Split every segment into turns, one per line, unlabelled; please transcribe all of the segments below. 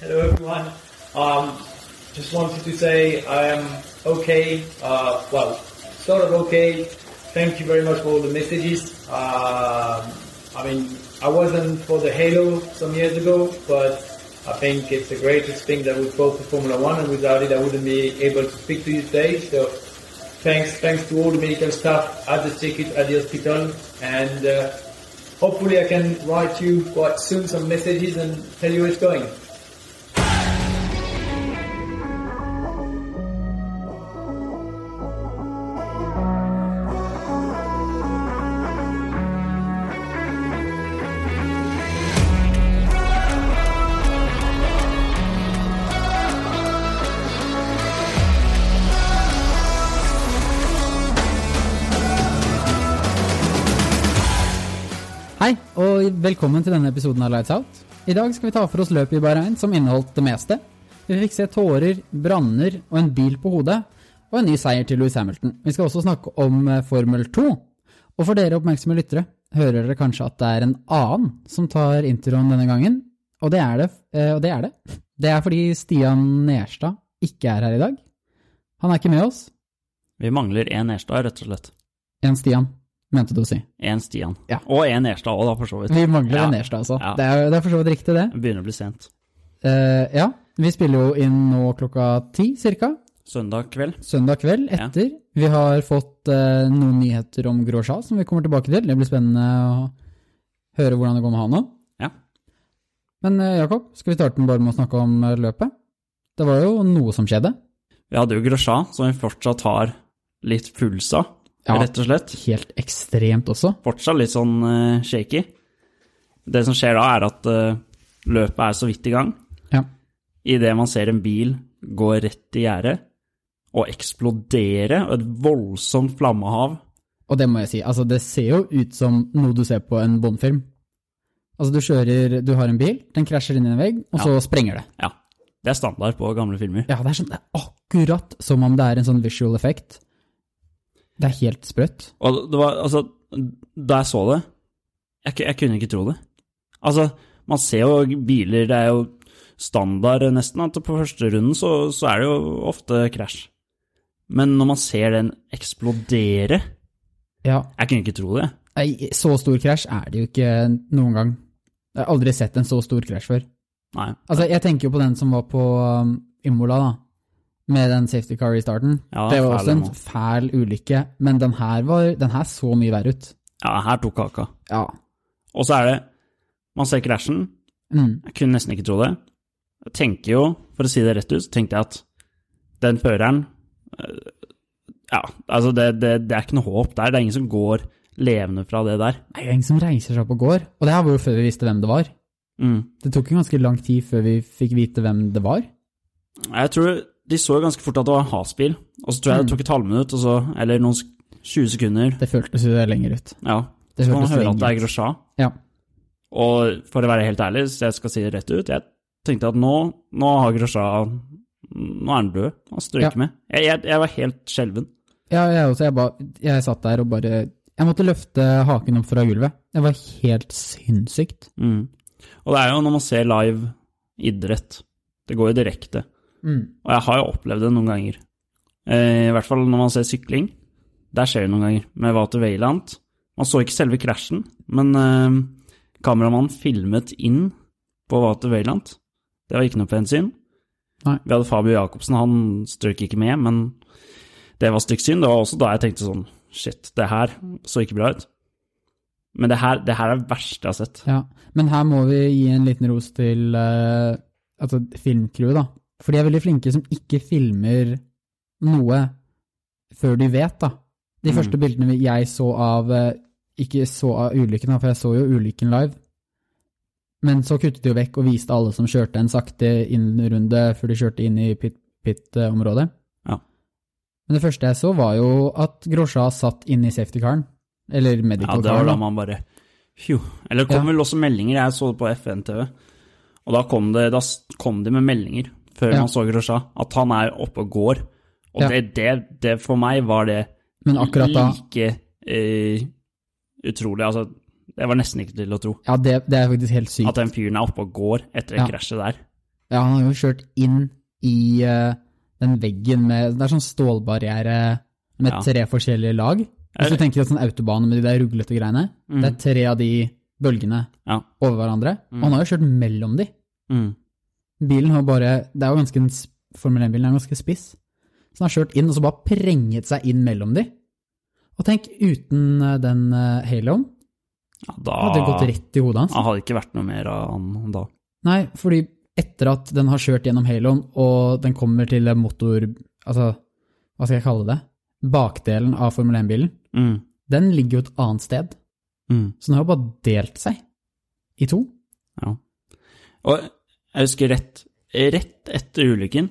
Hello, everyone. Um, just wanted to say I am okay. Uh, well, sort of okay. Thank you very much for all the messages. Um I mean, I wasn't for the Halo some years ago, but I think it's the greatest thing that we've brought to Formula One, and without it, I wouldn't be able to speak to you today. So, thanks, thanks to all the medical staff at the circuit, at the hospital, and uh, hopefully, I can write you quite soon some messages and tell you how it's going.
Hei, og velkommen til denne episoden av Lights Out. I dag skal vi ta for oss løpet i Bahrain, som inneholdt det meste. Vi fikk se tårer, branner og en bil på hodet, og en ny seier til Louis Hamilton. Vi skal også snakke om eh, Formel 2. Og for dere oppmerksomme lyttere, hører dere kanskje at det er en annen som tar introen denne gangen, og det er det. eh, Og det er det. Det er fordi Stian Nerstad ikke er her i dag. Han er ikke med oss.
Vi mangler én Erstad, rett og slett.
En Stian, mente du å si.
Én Stian.
Ja.
Og én Erstad òg, da, for så vidt.
Vi mangler
Ja.
en Nerstad, altså.
Ja.
Det er, det er for så vidt riktig, det.
Det begynner å bli sent.
Eh, ja, vi spiller jo inn nå klokka ti cirka,
Søndag kveld.
søndag kveld etter. Vi har fått eh, noen nyheter om Grosja som vi kommer tilbake til. Det blir spennende å høre hvordan det går med han nå.
Ja.
Men eh, Jakob, skal vi starte med bare med å snakke om eh, løpet? Det var jo noe som skjedde.
Vi hadde jo Grosja, som vi fortsatt har litt puls av,
Ja.
rett og slett.
Helt ekstremt også.
Fortsatt litt sånn eh, shaky. Det som skjer da, er at eh, løpet er så vidt i gang.
Ja.
Idet man ser en bil gå rett i gjerdet og eksplodere, og et voldsomt flammehav
Og det må jeg si, altså det ser jo ut som noe du ser på en Bond-film. Altså du kjører, du har en bil, den krasjer inn i en vegg, og så sprenger det.
Ja. Det er standard på gamle filmer.
Ja, det er sånn, det er akkurat som om det er en sånn visual effect. Det er helt sprøtt.
Og det var, altså, da jeg så det, jeg, ku- jeg kunne ikke tro det. Altså, man ser jo biler, det er jo standard nesten, at på første runden så, så er det jo ofte krasj. Men når man ser den eksplodere,
Ja,
jeg kunne ikke tro det.
nei, så stor krasj er det jo ikke noen gang. Jeg har aldri sett en så stor krasj før.
Nei,
Altså, jeg tenker jo på den som var på um, Imola, da. Med den safety car i starten.
Ja,
det var
fæl
også en
den også.
fæl ulykke, men den her, var, den her så mye verre ut.
ja, her tok kaka.
Ja.
Og så er det, man ser krasjen,
Mm.
jeg kunne nesten ikke tro det. Jeg tenker jo, for å si det rett ut, så tenkte jeg at den føreren eh, Ja, altså, det, det, det er ikke noe håp der. Det er ingen som går levende fra det der.
Det er jo ingen som reiser seg opp og går. Og det her var jo før vi visste hvem det var.
Mm.
Det tok jo ganske lang tid før vi fikk vite hvem det var.
Jeg tror de så ganske fort at det var en hasbil, og så tror jeg det tok et halvminutt, og så, eller noen sk- 20 sekunder,
Det føltes jo lenger ut.
ja,
Det
så kan man
hørtes
høre at det
lenge
er
ut.
Grosja.
Ja.
Og for å være helt ærlig, så jeg skal si det rett ut, jeg tenkte at nå, nå har Grosja Nå er han død, han strøyker
Ja.
med. Jeg, jeg, jeg var helt skjelven.
Ja, jeg også. Jeg, bare, jeg satt der og bare Jeg måtte løfte haken opp fra gulvet. Det var helt sinnssykt.
Mm. Og det er jo når man ser live idrett, det går jo direkte. Og jeg har jo opplevd det noen ganger. Eh, I hvert fall når man ser sykling. Der skjer det noen ganger, med Walter Weyland. Man så ikke selve krasjen, men eh, kameramannen filmet inn på Walter Weyland. Det var ikke noe pensyn.
Nei.
Vi hadde Fabio Jacobsen, han strøk ikke med, men det var stygt synd. Det var også da jeg tenkte sånn, shit, det her så ikke bra ut. Men det her, det her er det verste jeg har sett.
Ja. Men her må vi gi en liten ros til uh, altså filmcrewet, da. For de er veldig flinke som ikke filmer noe før de vet, da. De
Mm.
første bildene vi- jeg så av eh, Ikke så av ulykken, da, for jeg så jo ulykken live. Men så kuttet de jo vekk og viste alle som kjørte en sakte innrunde før de kjørte inn i pit- pit-området.
Ja.
Men det første jeg så, var jo at Grosja satt inne i safety-caren. Eller
Ja, det var
medical-caren.
da
da.
man bare Phew. Eller det kom
Ja.
vel også meldinger, jeg så det på FN-TV. Og da kom, det, da s- kom de med meldinger, før
Ja.
man så Grosja, at han er oppe og går. Og
Ja.
det, det, det for meg var det
Men akkurat da
like eh, utrolig. Altså, det var nesten ikke til å tro.
Ja, det, det er faktisk helt sykt.
At den fyren er oppe og går etter det
Ja.
krasjet der.
Ja, han har jo kjørt inn i eh, den veggen med Det er sånn stålbarriere med
Ja.
tre forskjellige lag. Hvis du
Er-
tenker at sånn autobane med de der ruglete greiene, det er tre av de bølgene
Ja.
over hverandre. Og han har jo kjørt mellom de.
Mm.
Bilen har bare Det er jo ganske en s- Formel 1-bilen er ganske spiss. Så han har kjørt inn og så bare prenget seg inn mellom de. Og tenk, uten eh, den eh, haloen
Ja, da
hadde det gått rett i hodet hans.
Han hadde ikke vært noe mer av han da.
Nei, fordi etter at den har kjørt gjennom haloen, og den kommer til motor... Altså, hva skal jeg kalle det? Bakdelen av Formel 1-bilen.
Mm.
Den ligger jo et annet sted,
Mm.
så den har jo bare delt seg i to.
Ja. Og jeg husker rett, rett etter ulykken,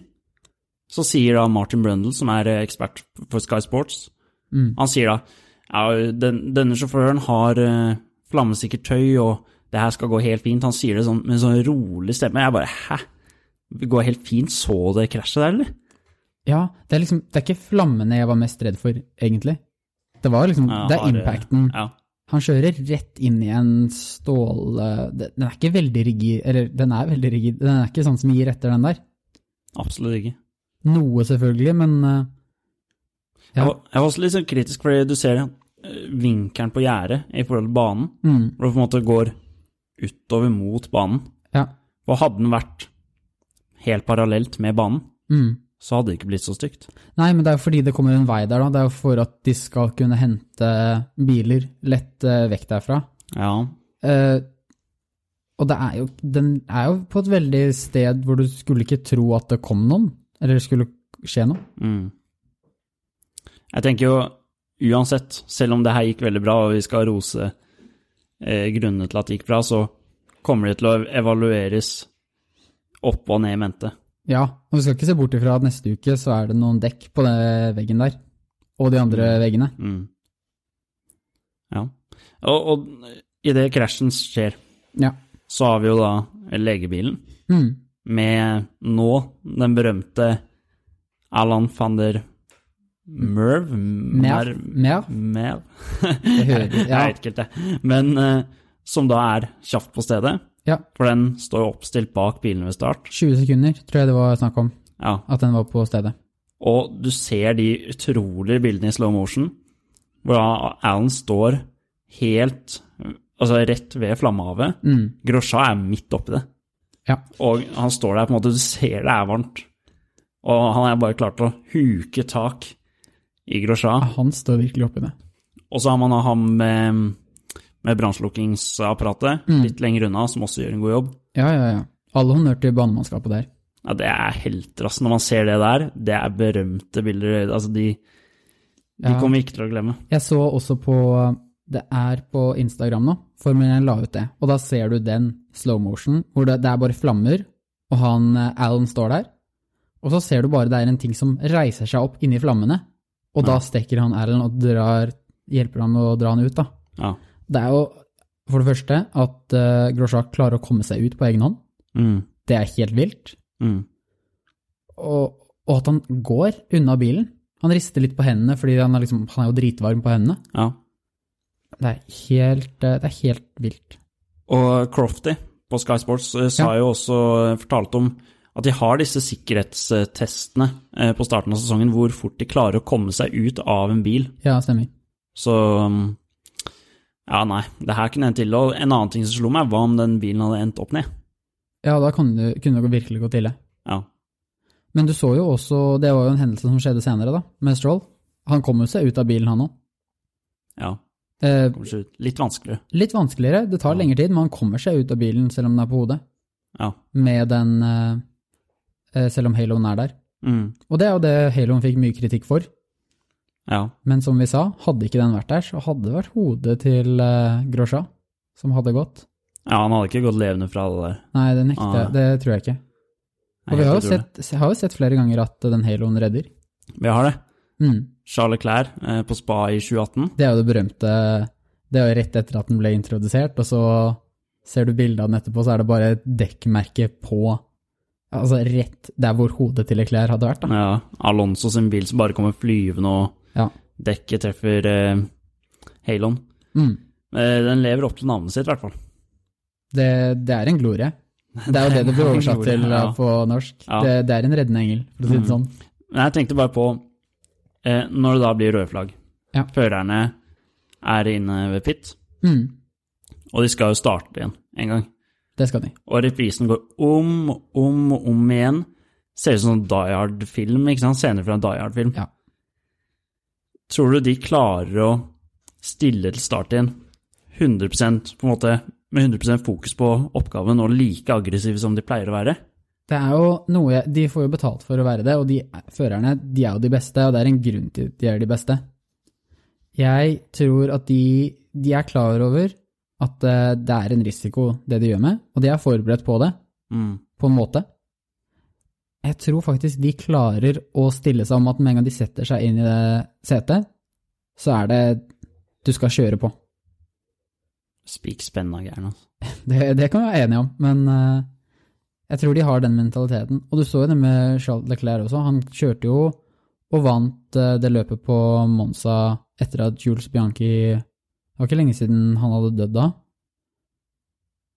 så sier da Martin Brundle, som er eh, ekspert for Sky Sports,
Mm.
han sier da ja, den, denne sjåføren har eh, flammesikkert tøy, og det her skal gå helt fint. Han sier det sånn, med en sånn rolig stemme. Jeg bare hæ? Det går helt fint? Så det krasjet der, eller?
Ja, det er liksom Det er ikke flammene jeg var mest redd for, egentlig. Det var liksom
Ja,
Det er
har, eh,
impacten.
Ja.
Han kjører rett inn i en stål... eh, det- Den er ikke veldig rigid Eller, den er veldig rigid. Den er ikke sånn som gir etter den der.
Absolutt ikke.
Noe, selvfølgelig, men eh, Ja.
Jeg, var, jeg var også litt sånn kritisk, fordi du ser eh, vinkelen på gjerdet i forhold til banen,
mm,
hvor det på en måte går utover mot banen.
Ja.
Og hadde den vært helt parallelt med banen,
Mm.
så hadde det ikke blitt så stygt.
Nei, men det er jo fordi det kommer en vei der, da. Det er jo for at de skal kunne hente biler lett eh, vekk derfra.
Ja.
Eh, og det er jo, den er jo på et veldig sted hvor du skulle ikke tro at det kom noen, eller det skulle skje noe.
Mm. Jeg tenker jo uansett, selv om det her gikk veldig bra, og vi skal rose eh, grunnene til at det gikk bra, så kommer det til å evalueres opp og ned i mente.
Ja, og vi skal ikke se bort ifra at neste uke så er det noen dekk på den veggen der, og de andre veggene.
Mm. Ja. Og, og i det krasjen skjer,
Ja.
så har vi jo da legebilen
Mm.
med nå den berømte Alan van der Merv?
Mer, mer,
Merv?
jeg hører, ja.
Jeg vet ikke helt det. Men eh, som da er kjapt på stedet,
ja.
for den står jo oppstilt bak bilen ved start.
20 sekunder tror jeg det var snakk om,
Ja.
at den var på stedet.
Og du ser de utrolige bildene i slow motion, hvor da Alan står helt Altså rett ved flammehavet.
Mm.
Grosja er midt oppi det.
Ja.
Og han står der på en måte, du ser det er varmt. Og han er bare klart å huke tak i Grosja.
Han står virkelig oppi det.
Og så har man da ham med, med brannslukkingsapparatet litt lenger unna, som også gjør en god jobb.
Ja, ja, ja. All honnør til banemannskapet der.
Ja, det er helter, altså. Når man ser det der, det er berømte bilder. Altså, de, de
Ja.
kommer vi ikke til å glemme.
Jeg så også på Det er på Instagram nå, Formel 1 la ut det. Og da ser du den slow motion, hvor det, det er bare flammer, og han eh, Alan står der. Og så ser du bare det er en ting som reiser seg opp inni flammene, og da stikker han Alan og drar, hjelper han med å dra han ut, da.
Ja.
Det er jo for det første at uh, Grosjak klarer å komme seg ut på egen hånd.
Mm,
Det er helt vilt.
mm,
Og, og at han går unna bilen. Han rister litt på hendene, fordi han er, liksom, han er jo dritvarm på hendene.
ja.
Det er helt, eh, det er helt vilt.
Og Crofty på Sky Sports eh, sa
Ja.
jo også, eh, fortalte om at de har disse sikkerhetstestene eh, på starten av sesongen, hvor fort de klarer å komme seg ut av en bil.
Ja, stemmer.
Så mm, ja, nei, det her kunne endt ille. Og en annen ting som slo meg, hva om den bilen hadde endt opp ned?
Ja, da kan du, kunne det virkelig gått ille.
Ja.
Men du så jo også, det var jo en hendelse som skjedde senere, da, med Stroll. Han kom jo seg ut av bilen, han òg.
ja.
Eh,
kommer seg ut. Litt vanskeligere.
litt vanskeligere, det tar lengre tid, men han kommer seg ut av bilen selv om den er på hodet.
Ja.
Med den eh, eh, Selv om haloen er der.
Mm.
Og det er jo det haloen fikk mye kritikk for.
Ja.
Men som vi sa, hadde ikke den vært der, så hadde det vært hodet til eh, Grosja som hadde gått.
ja, han hadde ikke gått levende fra det der.
Nei, det nekter jeg.
Ah.
Det tror jeg ikke.
Nei,
Og vi
jeg
har jo,
tror det.
sett, har jo sett flere ganger at den haloen redder.
Vi har det.
Mm.
Charles Leclerc eh, på spa i 2018.
Det er jo det berømte Det er jo rett etter at den ble introdusert, og så ser du bildet av den etterpå, så er det bare et dekkmerke på Altså rett der hvor hodet til Leclerc hadde vært, da.
Ja, Alonso sin bil som bare kommer flyvende, og
Ja.
dekket treffer eh, Halon.
Mm.
Eh, den lever opp til navnet sitt, i hvert fall.
Det, det er en glorie. Det er jo det det blir oversatt
Ordet,
til
ja.
eh, på norsk.
Ja.
Det, det er en reddende engel, for å si det sånn.
Men jeg tenkte bare på eh, når det da blir røde flagg.
Ja.
Førerne er inne ved pit,
Mm,
og de skal jo starte igjen en gang.
det skal de.
Og reprisen går om og om og om igjen. Ser ut som en Die Hard-film, ikke sant? Scener fra en Die Hard-film.
Ja.
Tror du de klarer å stille til start igjen 100 på en måte, med 100 fokus på oppgaven og like aggressive som de pleier å være?
Det er jo noe jeg, De får jo betalt for å være det, og de førerne de er jo de beste, og det er en grunn til at de er de beste. Jeg tror at de, de er klar over at eh, det er en risiko, det de gjør med, og de er forberedt på det,
Mm.
på en måte. Jeg tror faktisk de klarer å stille seg om at med en gang de setter seg inn i det setet, så er det du skal kjøre på.
Spikspennende gæren, altså.
Det, det kan vi være enige om, men eh, jeg tror de har den mentaliteten. Og du så jo det med Charles Leclerc også. Han kjørte jo og vant eh, det løpet på Monza etter at Jules Bianchi Det var ikke lenge siden han hadde dødd da.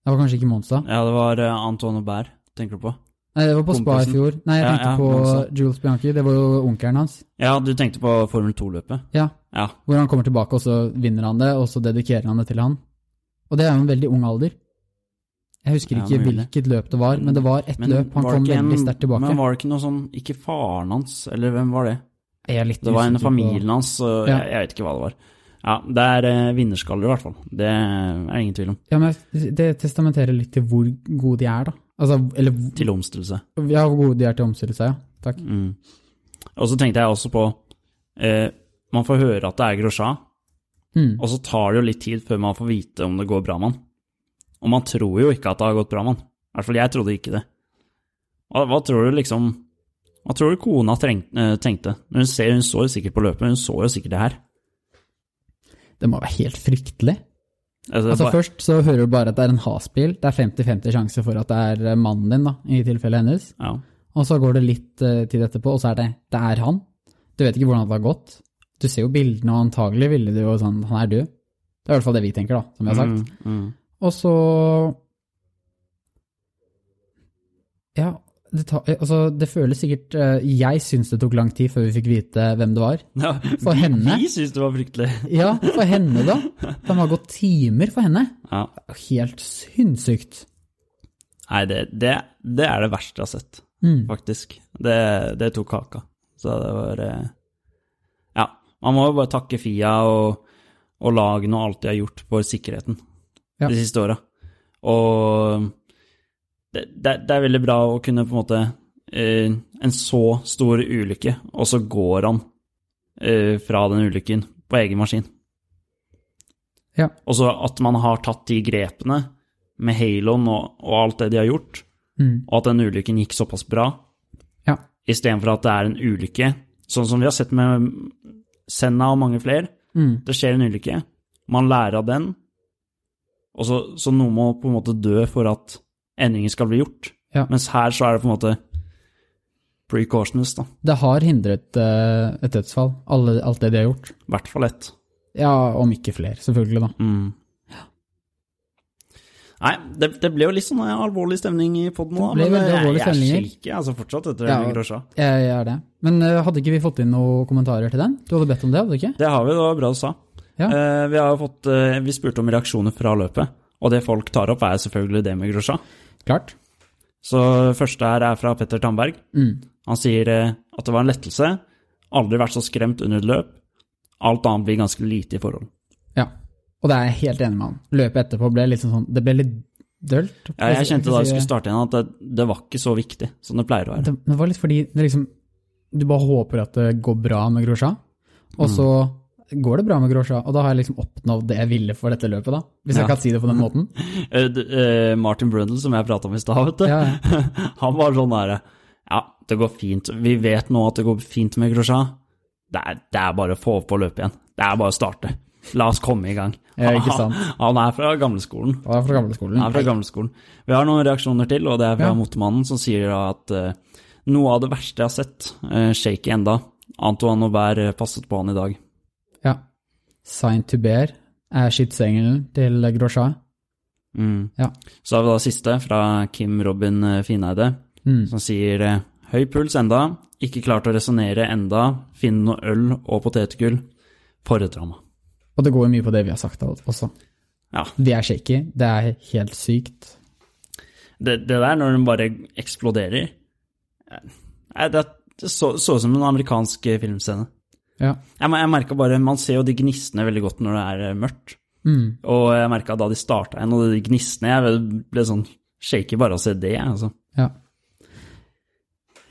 Det var kanskje ikke Monza.
Ja, det var eh, Anton Aubert, tenker du på?
Nei, det var på Spa i
Kompisen.
fjor. Nei, jeg
Ja,
tenkte
ja,
på
Monza.
Jules Bianchi. Det var jo onkelen hans.
Ja, du tenkte på Formel 2-løpet?
Ja,
Ja.
Hvor han kommer tilbake, og så vinner han det, og så dedikerer han det til han. Og det er jo en veldig ung alder. Jeg husker
Ja,
ikke
mulig.
hvilket løp det var, men det var ett
Men
løp. Han
var det
kom
ikke en-
veldig sterkt tilbake.
Men var det ikke noe sånn Ikke faren hans, eller hvem var det?
Jeg er litt
Det var en av
usikker på-
familien hans, og
Ja.
jeg, jeg vet ikke hva det var. Ja, det er eh, vinnerskaller i hvert fall. Det er det ingen tvil om.
Ja, men Det testamenterer litt til hvor gode de er, da. Altså, eller hvor-
Til omstillelse.
ja, hvor gode de er til å omstille seg, ja. Takk.
Mm. Og så tenkte jeg også på eh, Man får høre at det er Grosjean,
Mm.
og så tar det jo litt tid før man får vite om det går bra med han. Og man tror jo ikke at det har gått bra med han. I hvert fall jeg trodde ikke det. Hva, hva tror du liksom Hva tror du kona trengte, eh, tenkte? Hun, ser, hun så jo sikkert på løpet, hun så jo sikkert det her.
Det må være helt fryktelig.
Altså,
Altså
bare-
Først så hører du bare at det er en hasbil. Det er 50-50 sjanse for at det er mannen din, da, i tilfellet hennes.
ja.
Og så går det litt eh, tid etterpå, og så er det det er han. Du vet ikke hvordan det har gått. Du ser jo bildene, og antagelig ville du jo sånn Han er død. Det er i hvert fall det vi tenker, da, som jeg har sagt.
Mm, mm.
Og så Ja, det, ta, altså, det føles sikkert eh, Jeg syns det tok lang tid før vi fikk vite hvem det var.
Ja,
For
vi,
henne?
mm. Vi syns det var fryktelig.
Ja, for henne, da. Det må ha gått timer for henne.
Ja.
Helt sinnssykt.
Nei, det, det, det er det verste jeg har sett,
Mm.
faktisk. Det, det tok kaka. Så det var eh, Ja. Man må jo bare takke FIA og, og lagene og alt de har gjort for sikkerheten
Ja.
de siste åra. Og det, det, det er veldig bra å kunne på en måte eh, En så stor ulykke, og så går han eh, fra den ulykken på egen maskin.
Ja.
Og så at man har tatt de grepene med haloen og, og alt det de har gjort,
Mm.
og at den ulykken gikk såpass bra,
Ja.
istedenfor at det er en ulykke, sånn som vi har sett med Senna og mange flere.
Mm.
Det skjer en ulykke, man lærer av den, og så, så noe må på en måte dø for at endringer skal bli gjort.
Ja.
Mens her så er det på en måte precautions, da.
Det har hindret eh, et dødsfall, alle, alt det de har gjort.
I hvert fall ett.
Ja, om ikke flere, selvfølgelig, da.
Mm. Nei, det, det ble jo litt sånn eh, alvorlig stemning i poden nå, da,
Det ble
men eh,
veldig
jeg,
alvorlig
jeg er
stemninger.
shaky altså, fortsatt etter
Ja.
Grosja.
Jeg, jeg er det. Men eh, hadde ikke vi fått inn noen kommentarer til den? Du hadde bedt om det, hadde du ikke?
Det har vi, det var bra du sa.
Ja.
Eh, vi, har jo fått, eh, vi spurte om reaksjoner fra løpet, og det folk tar opp er selvfølgelig det med Grosja.
Klart.
Så første her er fra Petter Tandberg.
Mm.
Han sier eh, at det var en lettelse, aldri vært så skremt under et løp, alt annet blir ganske lite i forhold.
Ja, og det er jeg helt enig med han. Løpet etterpå ble litt sånn, det ble litt dølt.
Ja, jeg kjente da jeg skulle
starte.
starte igjen at det, det var ikke så viktig som det pleier å være.
Det, det var litt fordi det liksom, du bare håper at det går bra med Grosja, og så går det bra med Grosja, og da har jeg liksom oppnådd det jeg ville for dette løpet da, hvis
Ja.
jeg kan si det på den måten.
Eh, d- eh, Martin Brundle, som jeg prata om i stad, vet du,
Ja,
han var sånn derre Ja, det går fint. Vi vet nå at det går fint med Grosja. Det er, det er bare å få på løpet igjen. Det er bare å starte. La oss komme i gang.
Ja, ikke sant.
Han, han er fra gamleskolen.
Det var fra gamleskolen.
Han er fra gamleskolen. Vi har noen reaksjoner til, og det er fra
Ja.
Motemannen, som sier da at eh, noe av det verste jeg har sett, eh, shaky enda, Antoine Aubert eh, passet på han i dag.
Ja. Saint Hubert er skittsengelen til Grosja.
Mm.
Ja.
Så har vi da siste, fra Kim Robin eh, Fineide,
Mm.
som sier eh, Høy puls enda, ikke klart å resonnere enda, finne noe øl og potetgull. For et drama.
Og det går mye på det vi har sagt al- også.
Ja.
Vi er shaky. Det er helt sykt.
Det, det der, når den bare eksploderer Nei, Det, det så, så ut som en amerikansk eh, filmscene.
Ja.
Jeg, mer- jeg merket bare, Man ser jo de gnistene veldig godt når det er eh, mørkt.
Mm.
Og jeg merka da de starta igjen, og de gnistene Jeg ble, ble sånn shaky bare av å se det. jeg, altså.
ja.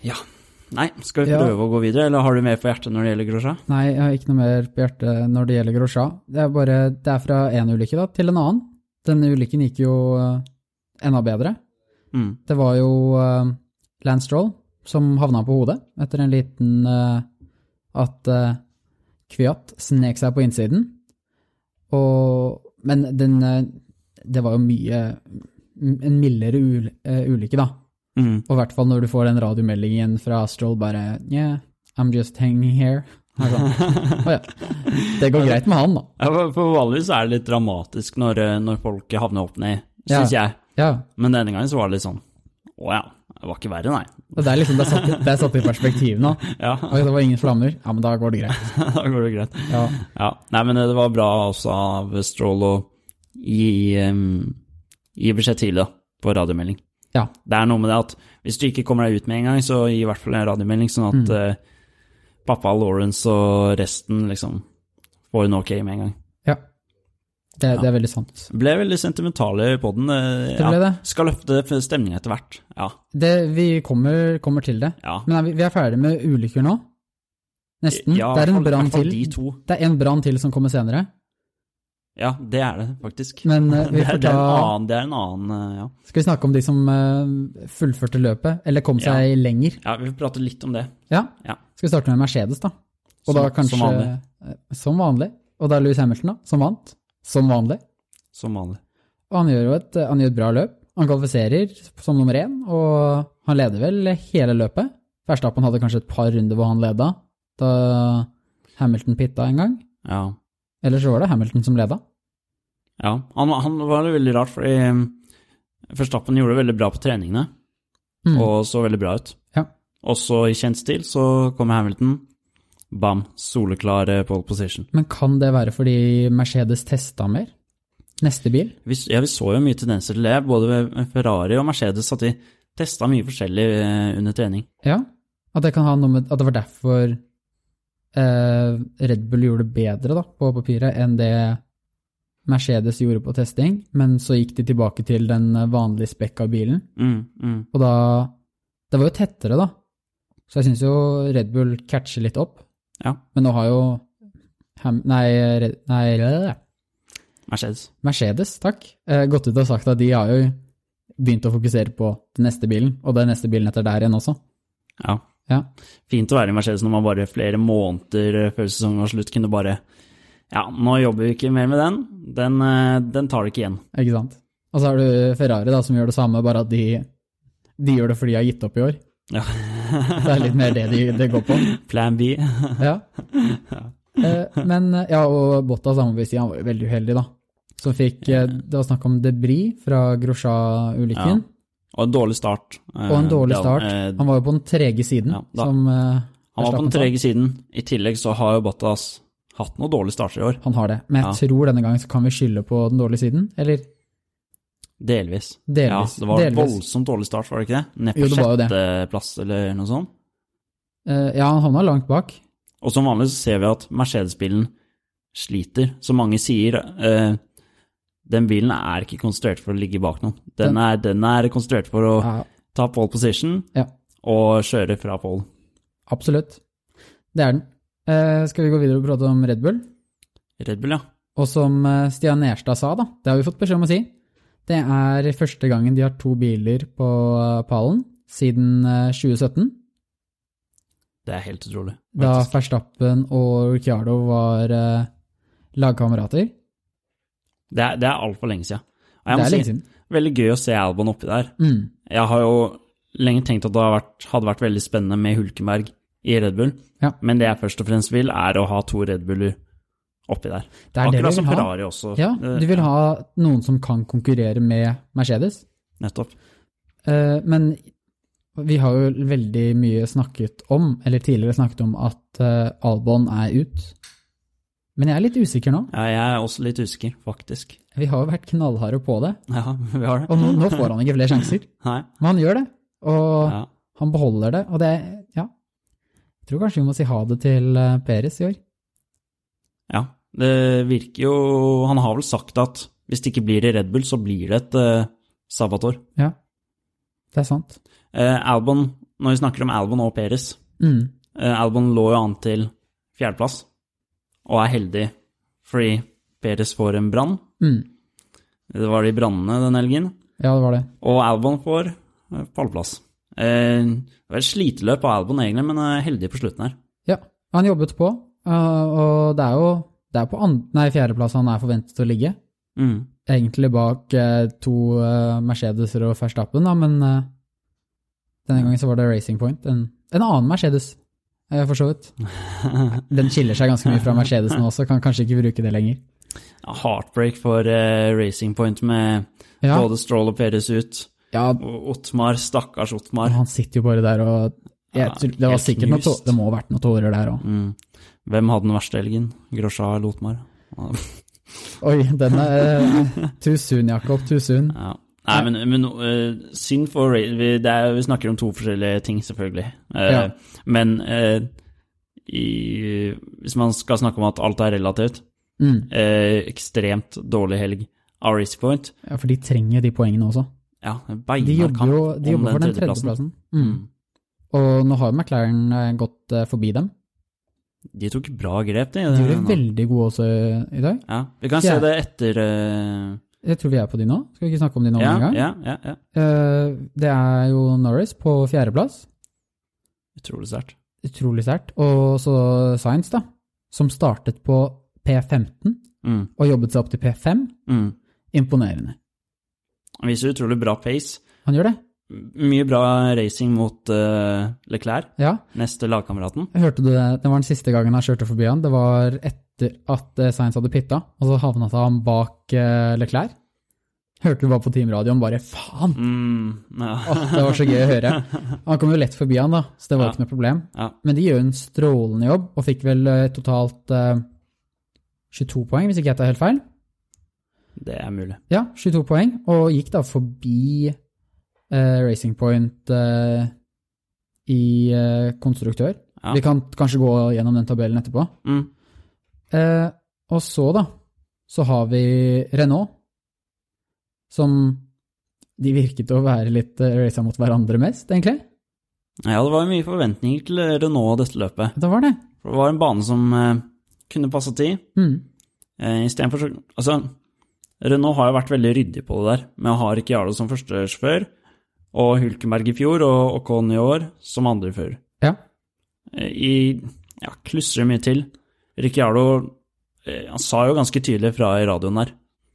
Ja. Nei, skal vi
Ja.
prøve å gå videre, eller har du mer på hjertet når det gjelder Grosja?
Nei, jeg har ikke noe mer på hjertet når det gjelder Grosja. Det er bare Det er fra én ulykke da, til en annen. Denne ulykken gikk jo eh, enda bedre.
Mm.
Det var jo uh, Lance Stroll som havna på hodet etter en liten eh, At uh, Kvyat snek seg på innsiden. Og Men den eh, Det var jo mye En mildere ul, eh, ulykke, da.
Mm.
Og i hvert fall når du får den radiomeldingen fra Stroll bare Yeah, I'm just hanging here. Og sånn. Å ja. Det går greit med han, da.
Ja, for- for vanligvis er det litt dramatisk når, eh, når folk havner opp ned,
Ja.
syns jeg.
Ja.
Men denne gangen så var det litt sånn Å ja, det var ikke verre, nei.
Og det er liksom, det er satt, i- det er satt i perspektiv nå.
Ja,
Og det var ingen flammer. Ja, men da går det greit.
da går det greit.
Ja.
Ja. Nei, men eh, det var bra også av Stroll å gi, em, gi beskjed tidlig, da, på radiomelding.
ja.
Det er noe med det at hvis du ikke kommer deg ut med en gang, så gi i hvert fall en radiomelding, sånn at eh, pappa Lawrence og resten liksom får en ok med en gang.
ja. Det, det er veldig sant.
Ble veldig sentimentale på den. eh,
Det ble
ja.
det.
Skal løfte stemninga etter hvert. Ja.
Det, vi kommer, kommer til det.
ja.
Men er vi, vi er ferdig med ulykker nå. Nesten.
Ja,
det er
i
en
hvert fall- i
brann
hvert fall
til.
De to.
Det er en brann til som kommer senere.
Ja, det er det, faktisk.
Men eh, vi
det, er,
får
det, er en
ta
annen, det er en annen eh, ja.
Skal vi snakke om de som eh, fullførte løpet, eller kom seg lenger?
ja, vi prater litt om det.
Ja.
Ja.
Skal vi starte med Mercedes, da? Og
Som-
da kanskje,
som vanlig.
eh, Som vanlig. Og da Louis Hamilton, da, som vant. Som vanlig.
Som vanlig.
Og han gjør jo et, eh, han gjør et bra løp. Han kvalifiserer som nummer én, og han leder vel hele løpet. Verstappen hadde kanskje et par runder hvor han leda, da Hamilton pitta en gang.
Ja.
Eller så var det Hamilton som leda.
ja. Han, han var det veldig rart, fordi eh, Verstappen gjorde det veldig bra på treningene,
Mm.
og så veldig bra ut.
Ja.
Og så i kjent stil så kommer Hamilton. Bam. Soleklar eh, pole position.
Men kan det være fordi Mercedes testa mer? Neste bil?
Vi, s- ja, vi så jo mye tendenser til det. Både Ferrari og Mercedes at de testa mye forskjellig eh, under trening.
Ja, at det kan ha noe med At det var derfor eh, Red Bull gjorde det bedre da, på papiret enn det Mercedes gjorde på testing, men så gikk de tilbake til den vanlige spekka bilen,
Mm, mm.
og da Det var jo tettere, da. Så jeg syns jo Red Bull catcher litt opp.
Ja.
Men nå har jo Ham, nei, Red, nei øh,
Mercedes.
Mercedes, takk, eh, gått ut og sagt at de har jo begynt å fokusere på den neste bilen, og den neste bilen etter der igjen også.
Ja.
Ja.
Fint å være i Mercedes når man bare flere måneder eh, før sesongen var slutt kunne bare Ja, nå jobber vi ikke mer med den. Den, eh, den tar det ikke igjen.
Ikke sant? Og så har du Ferrari da, som gjør det samme, bare at de, de gjør det fordi de har gitt opp i år.
Ja.
Det er litt mer det de, det går på.
Plan B.
Ja. Eh, Men ja, og Bottas, da må vi si, han var jo veldig uheldig, da. Som fikk eh, Det var snakk om debris fra
Ja.
Grosja-ulykken,
Og en dårlig start.
og en dårlig start.
Han,
Han var jo på den trege siden,
eh, ja, da-
som eh,
han var på
Verstappen
den
sa.
trege siden. I tillegg så har jo Bottas hatt noen dårlige starter i år.
Han har det. Men jeg tror denne gangen så kan vi skylde på den dårlige siden, eller?
Delvis.
Delvis,
Ja, det var
delvis.
voldsomt dårlig start, var det ikke det? Ned
Jo,
på
det var jo det.
sjetteplass eller noe sånt.
Eh, Ja, han havna langt bak.
Og som vanlig så ser vi at Mercedes-bilen sliter. Så mange sier eh, den bilen er ikke konstruert for å ligge bak noen. Den er, den er konstruert for å
Ja,
ta pole position
Ja.
og kjøre fra pole.
absolutt. Det er den. Eh, Skal vi gå videre og prate om Red Bull?
Red Bull, ja.
Og som eh, Stian Nerstad sa, da, det har vi fått beskjed om å si, det er første gangen de har to biler på eh, pallen siden eh, 2017,
Det er helt utrolig.
da
faktisk.
Verstappen og Ricciardo var eh, lagkamerater.
Det er, det er altfor lenge siden.
Det
Og jeg må
er lenge
si,
siden.
veldig gøy å se Albon oppi der.
Mm.
Jeg har jo lenge tenkt at det har vært, hadde vært veldig spennende med Hulkenberg i Red Bull,
Ja.
men det jeg først og fremst vil, er å ha to Red Buller oppi der.
Det er det
Akkurat
vi
som
vil ha.
Ferrari også.
Ja,
Eh,
du vil ha noen som kan konkurrere med Mercedes,
Nettopp.
Eh, men vi har jo veldig mye snakket om, eller tidligere snakket om, at eh, Albon er ut. Men jeg er litt usikker nå.
Ja, jeg er også litt usikker, faktisk.
Vi har jo vært knallharde på det,
Ja, vi har det.
og nå, nå får han ikke flere sjanser.
Nei.
Men han gjør det, og
Ja.
han beholder det, og det, ja. Jeg tror kanskje vi må si ha det til eh, Perez i år.
ja. Det virker jo Han har vel sagt at hvis det ikke blir i Red Bull, så blir det et eh, sabbatår.
Ja, det er sant.
Eh, Albon, når vi snakker om Albon og Perez
Mm.
eh, Albon lå jo an til fjerdeplass, og er heldig fordi Perez får en brann.
Mm.
Det var de brannene den helgen.
Ja, det var det.
Og Albon får eh, pallplass. Eh, det var et sliteløp av Albon egentlig, men eh, heldig på slutten her.
Ja, han jobbet på, øh, og det er jo det er på and- nei, fjerdeplass han er forventet å ligge.
Mm.
Egentlig bak eh, to eh, Mercedeser og Verstappen, da, men eh, denne gangen så var det Racing Point. En, en annen Mercedes, eh, for så vidt. Den skiller seg ganske mye fra Mercedesen også, kan kanskje ikke bruke det lenger.
Ja, Heartbreak for eh, Racing Point med
Ja,
både Stroll og Perez ut.
ja
Og Ottmar, stakkars Ottmar.
han sitter jo bare der og jeg,
Ja,
tror- Det var
helt
sikkert noe, tå-
knust.
det må ha vært noen tårer der òg.
Mm. Hvem hadde den verste helgen? Grosja eller Ottmar?
Oi, den er uh, Too soon, Jakob. Too soon.
Ja. Nei, men, men eh, synd for Ra- vi, det er, vi snakker om to forskjellige ting, selvfølgelig. Eh,
Ja.
Men eh, i, hvis man skal snakke om at alt er relativt
Mm.
eh, Ekstremt dårlig helg av Race Point.
Ja, for de trenger de poengene også.
Ja,
De jobber
beinarkamp
jo
om
de jobber for den tredjeplassen.
tredjeplassen.
Mm. Og nå har jo McLaren eh, gått eh, forbi dem.
De tok bra grep, de.
De gjorde veldig gode også i dag.
ja, vi kan se
Fjerde.
det etter eh,
Jeg tror vi er på de nå. Skal vi ikke snakke om de nå
ja,
engang?
ja, ja, ja.
Eh, Det er jo Norris på fjerdeplass.
Utrolig sært.
Utrolig sært. Og så Science, da. Som startet på P15
Mm,
og jobbet seg opp til P5.
mm.
Imponerende.
Han Viser utrolig bra pace.
Han gjør det.
Mye bra racing mot eh, Leclerc,
Ja.
neste lagkameraten.
Hørte du det? Det var den siste gangen han kjørte forbi han. Det var etter at eh, Sainz hadde pitta, og så havna han bak eh, Leclerc. Hørte du bare på teamradioen bare faen!
Mm, ja.
Åh, det var så gøy å høre. Han kom jo lett forbi han, da, så det var
Ja.
ikke noe problem.
Ja.
Men de gjør en strålende jobb, og fikk vel eh, totalt eh, 22 poeng, hvis ikke jeg tar helt feil.
Det er mulig.
Ja, 22 poeng, og gikk da forbi eh, Racing Point eh, i eh, konstruktør.
Ja.
Vi kan kanskje gå gjennom den tabellen etterpå.
Mm.
Eh, og så, da, så har vi Renault, som de virket å være litt eh, raisa mot hverandre mest, egentlig.
Ja, det var jo mye forventninger til eh, Renault dette løpet.
Det var det.
For det var en bane som eh, kunne passe til.
Mm.
Eh, Istedenfor så Altså, Renault har jo vært veldig ryddig på det der, men har ikke Jarlo som førstesjåfør, og Hulkenberg i fjor og Ocon i år som andre fører.
Ja.
Eh, I Ja, klusser mye til. Ricciardo eh, han sa jo ganske tydelig fra i radioen der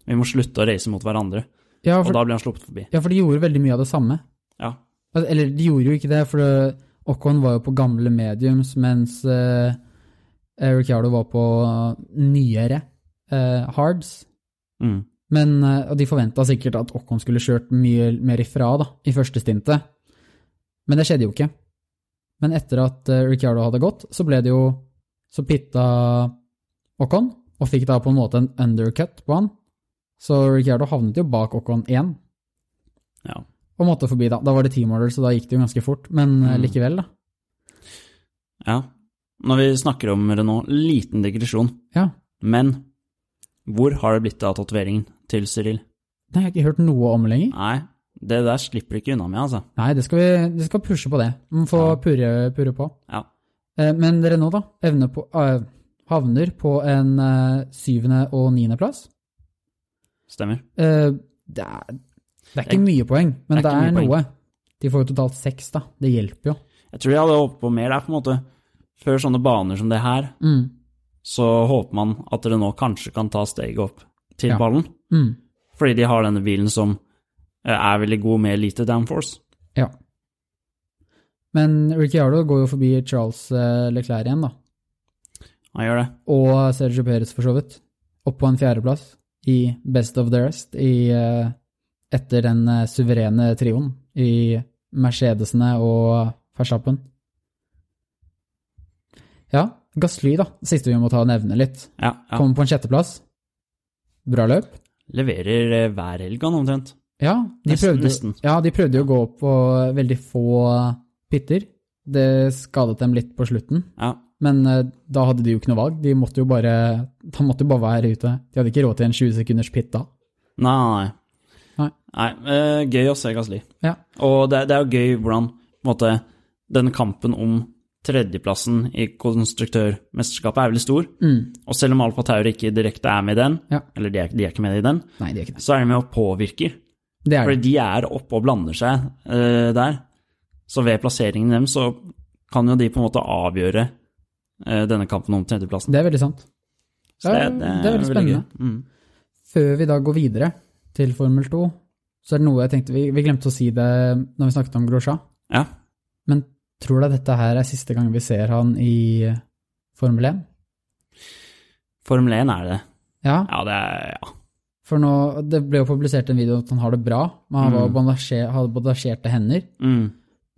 vi må slutte å race mot hverandre,
Ja
og
for,
da blir han sluppet forbi.
ja, for de gjorde veldig mye av det samme.
Ja.
Al- Eller, de gjorde jo ikke det, for det, Ocon var jo på gamle mediums, mens eh, eh, Ricciardo var på nyere eh, hards.
Mm.
Men, eh, og de forventa sikkert at Ocon skulle kjørt mye mer ifra da, i første stintet. Men det skjedde jo ikke. Men etter at eh, Ricciardo hadde gått, så ble det jo Så pitta Ocon, og fikk da på en måte en undercut på han. Så Ricciardo havnet jo bak Ocon igjen,
ja.
og måtte forbi, da. Da var det team order, så da gikk det jo ganske fort, men eh,
Mm.
likevel, da.
Ja. Når vi snakker om Renault, liten digresjon,
Ja.
men hvor har det blitt av tatoveringen til Cyril?
Det har jeg ikke hørt noe om lenger.
Nei, det der slipper du ikke unna med, altså.
Nei, det skal vi, vi skal pushe på det. Vi må få
Ja.
purre, purre på.
Ja.
Eh, Men Renault da, evner på, eh, havner på en eh, syvende og niende plass.
Stemmer.
Eh, det, er, det er ikke mye poeng, men
det
det
er
er,
ikke mye
noe. De får jo totalt seks, da. Det hjelper jo.
Jeg tror jeg hadde håpet på mer der, på en måte. Før sånne baner som det her,
Mm.
så håper man at Renault kanskje kan ta steget opp til
Ja.
ballen.
Mm.
Fordi de har denne bilen som eh, er veldig god med lite downforce.
Ja. Men Ricciardo går jo forbi Charles eh, Leclerc igjen, da.
Han gjør det.
og Sergio Perez for så vidt, opp på en fjerdeplass i Best of the Rest i, eh, etter den eh, suverene trioen i Mercedesene og Verstappen. Ja, Gasly, da. Siste vi må ta og nevne litt.
Ja, ja.
Kommer på en sjetteplass. Bra løp.
Leverer eh, hver helg, han omtrent.
Ja, de
Nesten,
prøvde,
nesten.
Ja, de prøvde jo å gå opp på veldig få pitter. Det skadet dem litt på slutten.
Ja.
Men eh, da hadde de jo ikke noe valg. De måtte jo bare, de måtte jo bare være ute. De hadde ikke råd til en 20 sekunders pit da.
Nei, nei, nei.
Nei.
eh, gøy å se Gasli.
Ja.
Og det, det er jo gøy hvordan på en måte, denne kampen om tredjeplassen i konstruktørmesterskapet er veldig stor. Og selv om Alfa Tauri ikke direkte er med i den,
Mm. Ja.
eller de er, de er ikke med i den,
Nei, de er ikke det.
så er de med og påvirker.
Det er
Fordi
det.
de er oppe og blander seg eh, der. Så ved plasseringen dem så kan jo de på en måte avgjøre eh, denne kampen om tredjeplassen.
Det er veldig sant.
Så
det er- det er veldig
gøy. Mm.
Før vi da går videre til Formel 2, så er det noe jeg tenkte Vi, vi glemte å si det når vi snakket om Grosja,
Ja.
men tror du at dette her er siste gang vi ser han i Formel 1?
Formel 1 er det.
Ja,
Ja, det er ja.
for nå, det ble jo publisert en video om at han har det bra, men han var
Mm.
bandasje- hadde bandasjerte hender,
Mm.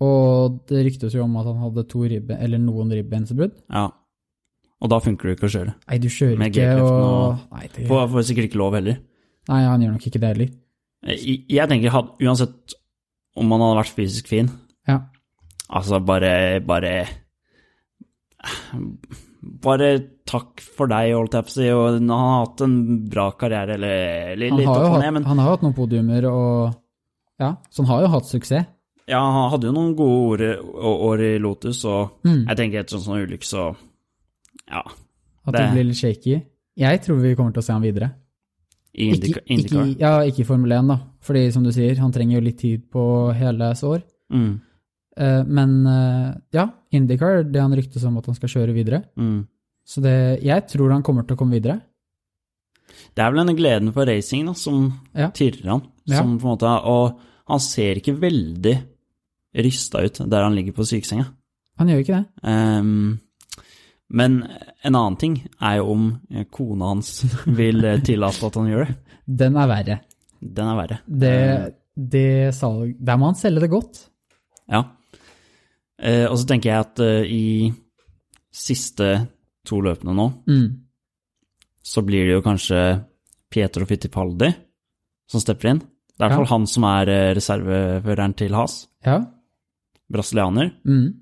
og det ryktes jo om at han hadde to ribbe, eller noen ribbensbrudd.
ja. Og da funker det jo ikke å kjøre.
Nei, du kjører
Med
ikke
G-kreften
og nei, det...
På, får sikkert ikke lov heller.
nei, han gjør nok ikke det heller.
Jeg, jeg tenker had- uansett om han hadde vært fysisk fin,
Ja.
altså bare Bare bare takk for deg, holdt jeg på å si. Og han har hatt en bra karriere, eller, eller
Han,
litt
har
opp
jo
og
hatt,
ned, men
han har jo hatt noen podiumer og Ja, så han har jo hatt suksess.
ja, han hadde jo noen gode år, å- år i Lotus, og
Mm.
jeg tenker etter sånn sånn ulykke, så ja.
At det,
Det-
blir litt shaky. Jeg tror vi kommer til å se han videre.
I Indica-
ikke, ikke,
Indicar.
i- ja, ikke i Formel 1, da. Fordi som du sier, han trenger jo litt tid på hele sår.
Mm,
Eh, men eh, ja, Indycar, det han ryktes om at han skal kjøre videre.
mm.
Så det, jeg tror han kommer til å komme videre.
Det er vel denne gleden for racing da, som
Ja.
tirrer han.
Ja.
Som på en måte, og han ser ikke veldig rysta ut der han ligger på sykesenga.
Han gjør jo ikke det.
Ehm, men en annen ting er jo om eh, kona hans vil eh, tillate at han gjør det.
Den er verre.
Den er verre.
Det,
Eh,
det salg Der må han selge det godt.
Ja. Eh, og så tenker jeg at eh, i siste to løpene nå,
Mm.
så blir det jo kanskje Pietro Fittipaldi som stepper inn. Det er i hvert
Ja.
fall han som er eh, reserveføreren til Has,
Ja.
brasilianer.
Mm.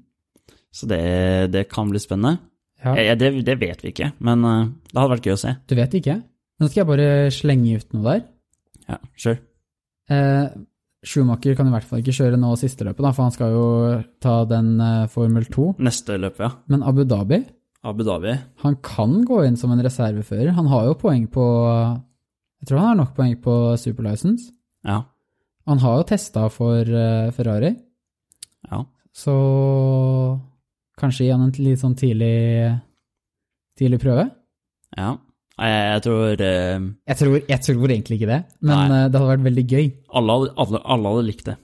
Så det, det kan bli spennende.
ja.
Eh, det, det vet vi ikke, men eh, det hadde vært gøy å se.
Du vet ikke. Nå skal jeg bare slenge ut noe der.
Ja, sure.
Eh, Schumacher kan i hvert fall ikke kjøre nå siste løpet, da, for han skal jo ta den eh, Formel 2.
Neste løp, ja.
Men Abu Dhabi,
Abu Dhabi.
han kan gå inn som en reservefører. Han har jo poeng på Jeg tror han har nok poeng på superlicense.
Ja.
Han har jo testa for eh, Ferrari,
ja.
så kanskje gi han en litt sånn tidlig, tidlig prøve?
ja. Nei, Jeg, jeg tror eh,
Jeg tror, jeg tror egentlig ikke det, men
Nei.
eh, det hadde vært veldig gøy.
alle, hadde- alle, alle hadde likt det.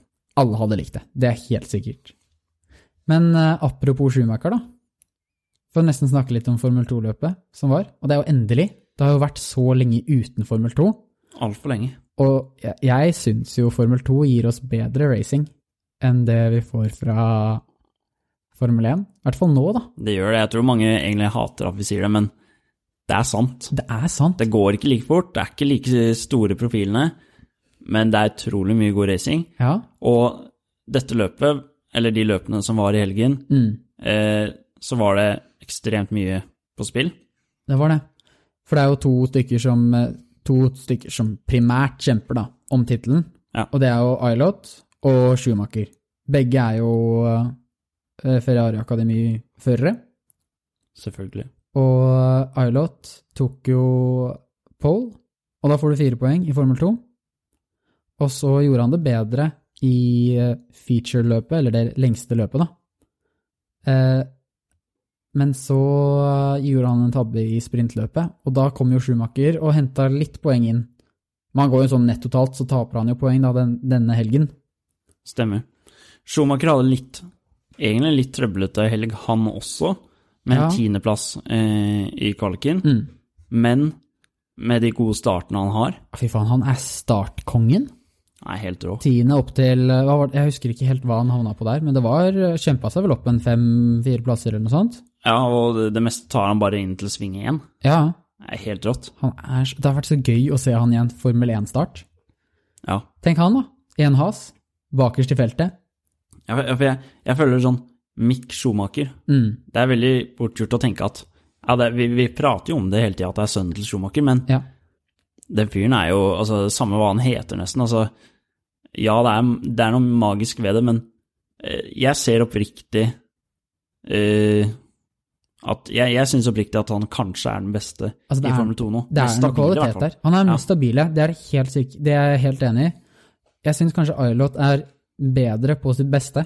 Alle hadde likt det, det er helt sikkert. Men eh, apropos Schumacher, da. Får nesten snakke litt om Formel 2-løpet som var. Og det er jo endelig. Det har jo vært så lenge uten Formel 2.
Altfor lenge.
Og jeg, jeg syns jo Formel 2 gir oss bedre racing enn det vi får fra Formel 1. I hvert fall nå, da.
Det gjør det. Jeg tror mange egentlig hater at vi sier det, men det er sant.
Det er sant.
Det går ikke like fort, det er ikke like store profilene, men det er utrolig mye god racing.
Ja.
Og dette løpet, eller de løpene som var i helgen,
Mm.
eh, så var det ekstremt mye på spill.
Det var det. For det er jo to stykker som, eh, to stykker som primært kjemper da, om tittelen.
Ja.
Og det er jo Ailot og Schumacher. Begge er jo eh, Ferrari Akademi-førere.
Selvfølgelig.
Og Ailot tok jo pole, og da får du fire poeng i Formel 2. Og så gjorde han det bedre i eh, feature-løpet, eller det lengste løpet, da. Eh, men så gjorde han en tabbe i sprintløpet, og da kom jo Schumacher og henta litt poeng inn. Men han går jo sånn nett totalt, så taper han jo poeng da den, denne helgen.
Stemmer. Schumacher hadde litt, egentlig litt trøblete helg, han også, med en
Ja.
tiendeplass eh, i kvaliken.
Mm.
Men med de gode startene han har,
Fy faen, han er startkongen.
er helt rå.
Tiende opp til eh, hva var det? Jeg husker ikke helt hva han havna på der, men det var kjempa seg vel opp en fem-fire plasser eller noe sånt.
Ja, og det, det meste tar han bare inn til sving én.
Ja,
Det er helt rått.
han er, så- det har vært så gøy å se han i en Formel 1-start.
Ja.
Tenk han, da. Én has, bakerst i feltet.
Ja, for- ja, for jeg, jeg føler sånn Mick Schumacher
Mm.
Det er veldig bortgjort å tenke at ja, det, vi, vi prater jo om det hele tida, at det er sønnen til Schumacher, men
Ja.
den fyren er jo altså, Samme hva han heter, nesten. Altså, ja, det er, det er noe magisk ved det, men eh, jeg ser oppriktig eh, at Jeg, jeg syns oppriktig at han kanskje er den beste
Altså, det
i
er-
Formel 2 nå.
Det er noe
Stabil, i hvert
kvalitet
fall.
der. Han er den
Ja.
mest stabile, det er, helt syk, det er jeg helt enig i. Jeg syns kanskje Ailot er bedre på sitt beste,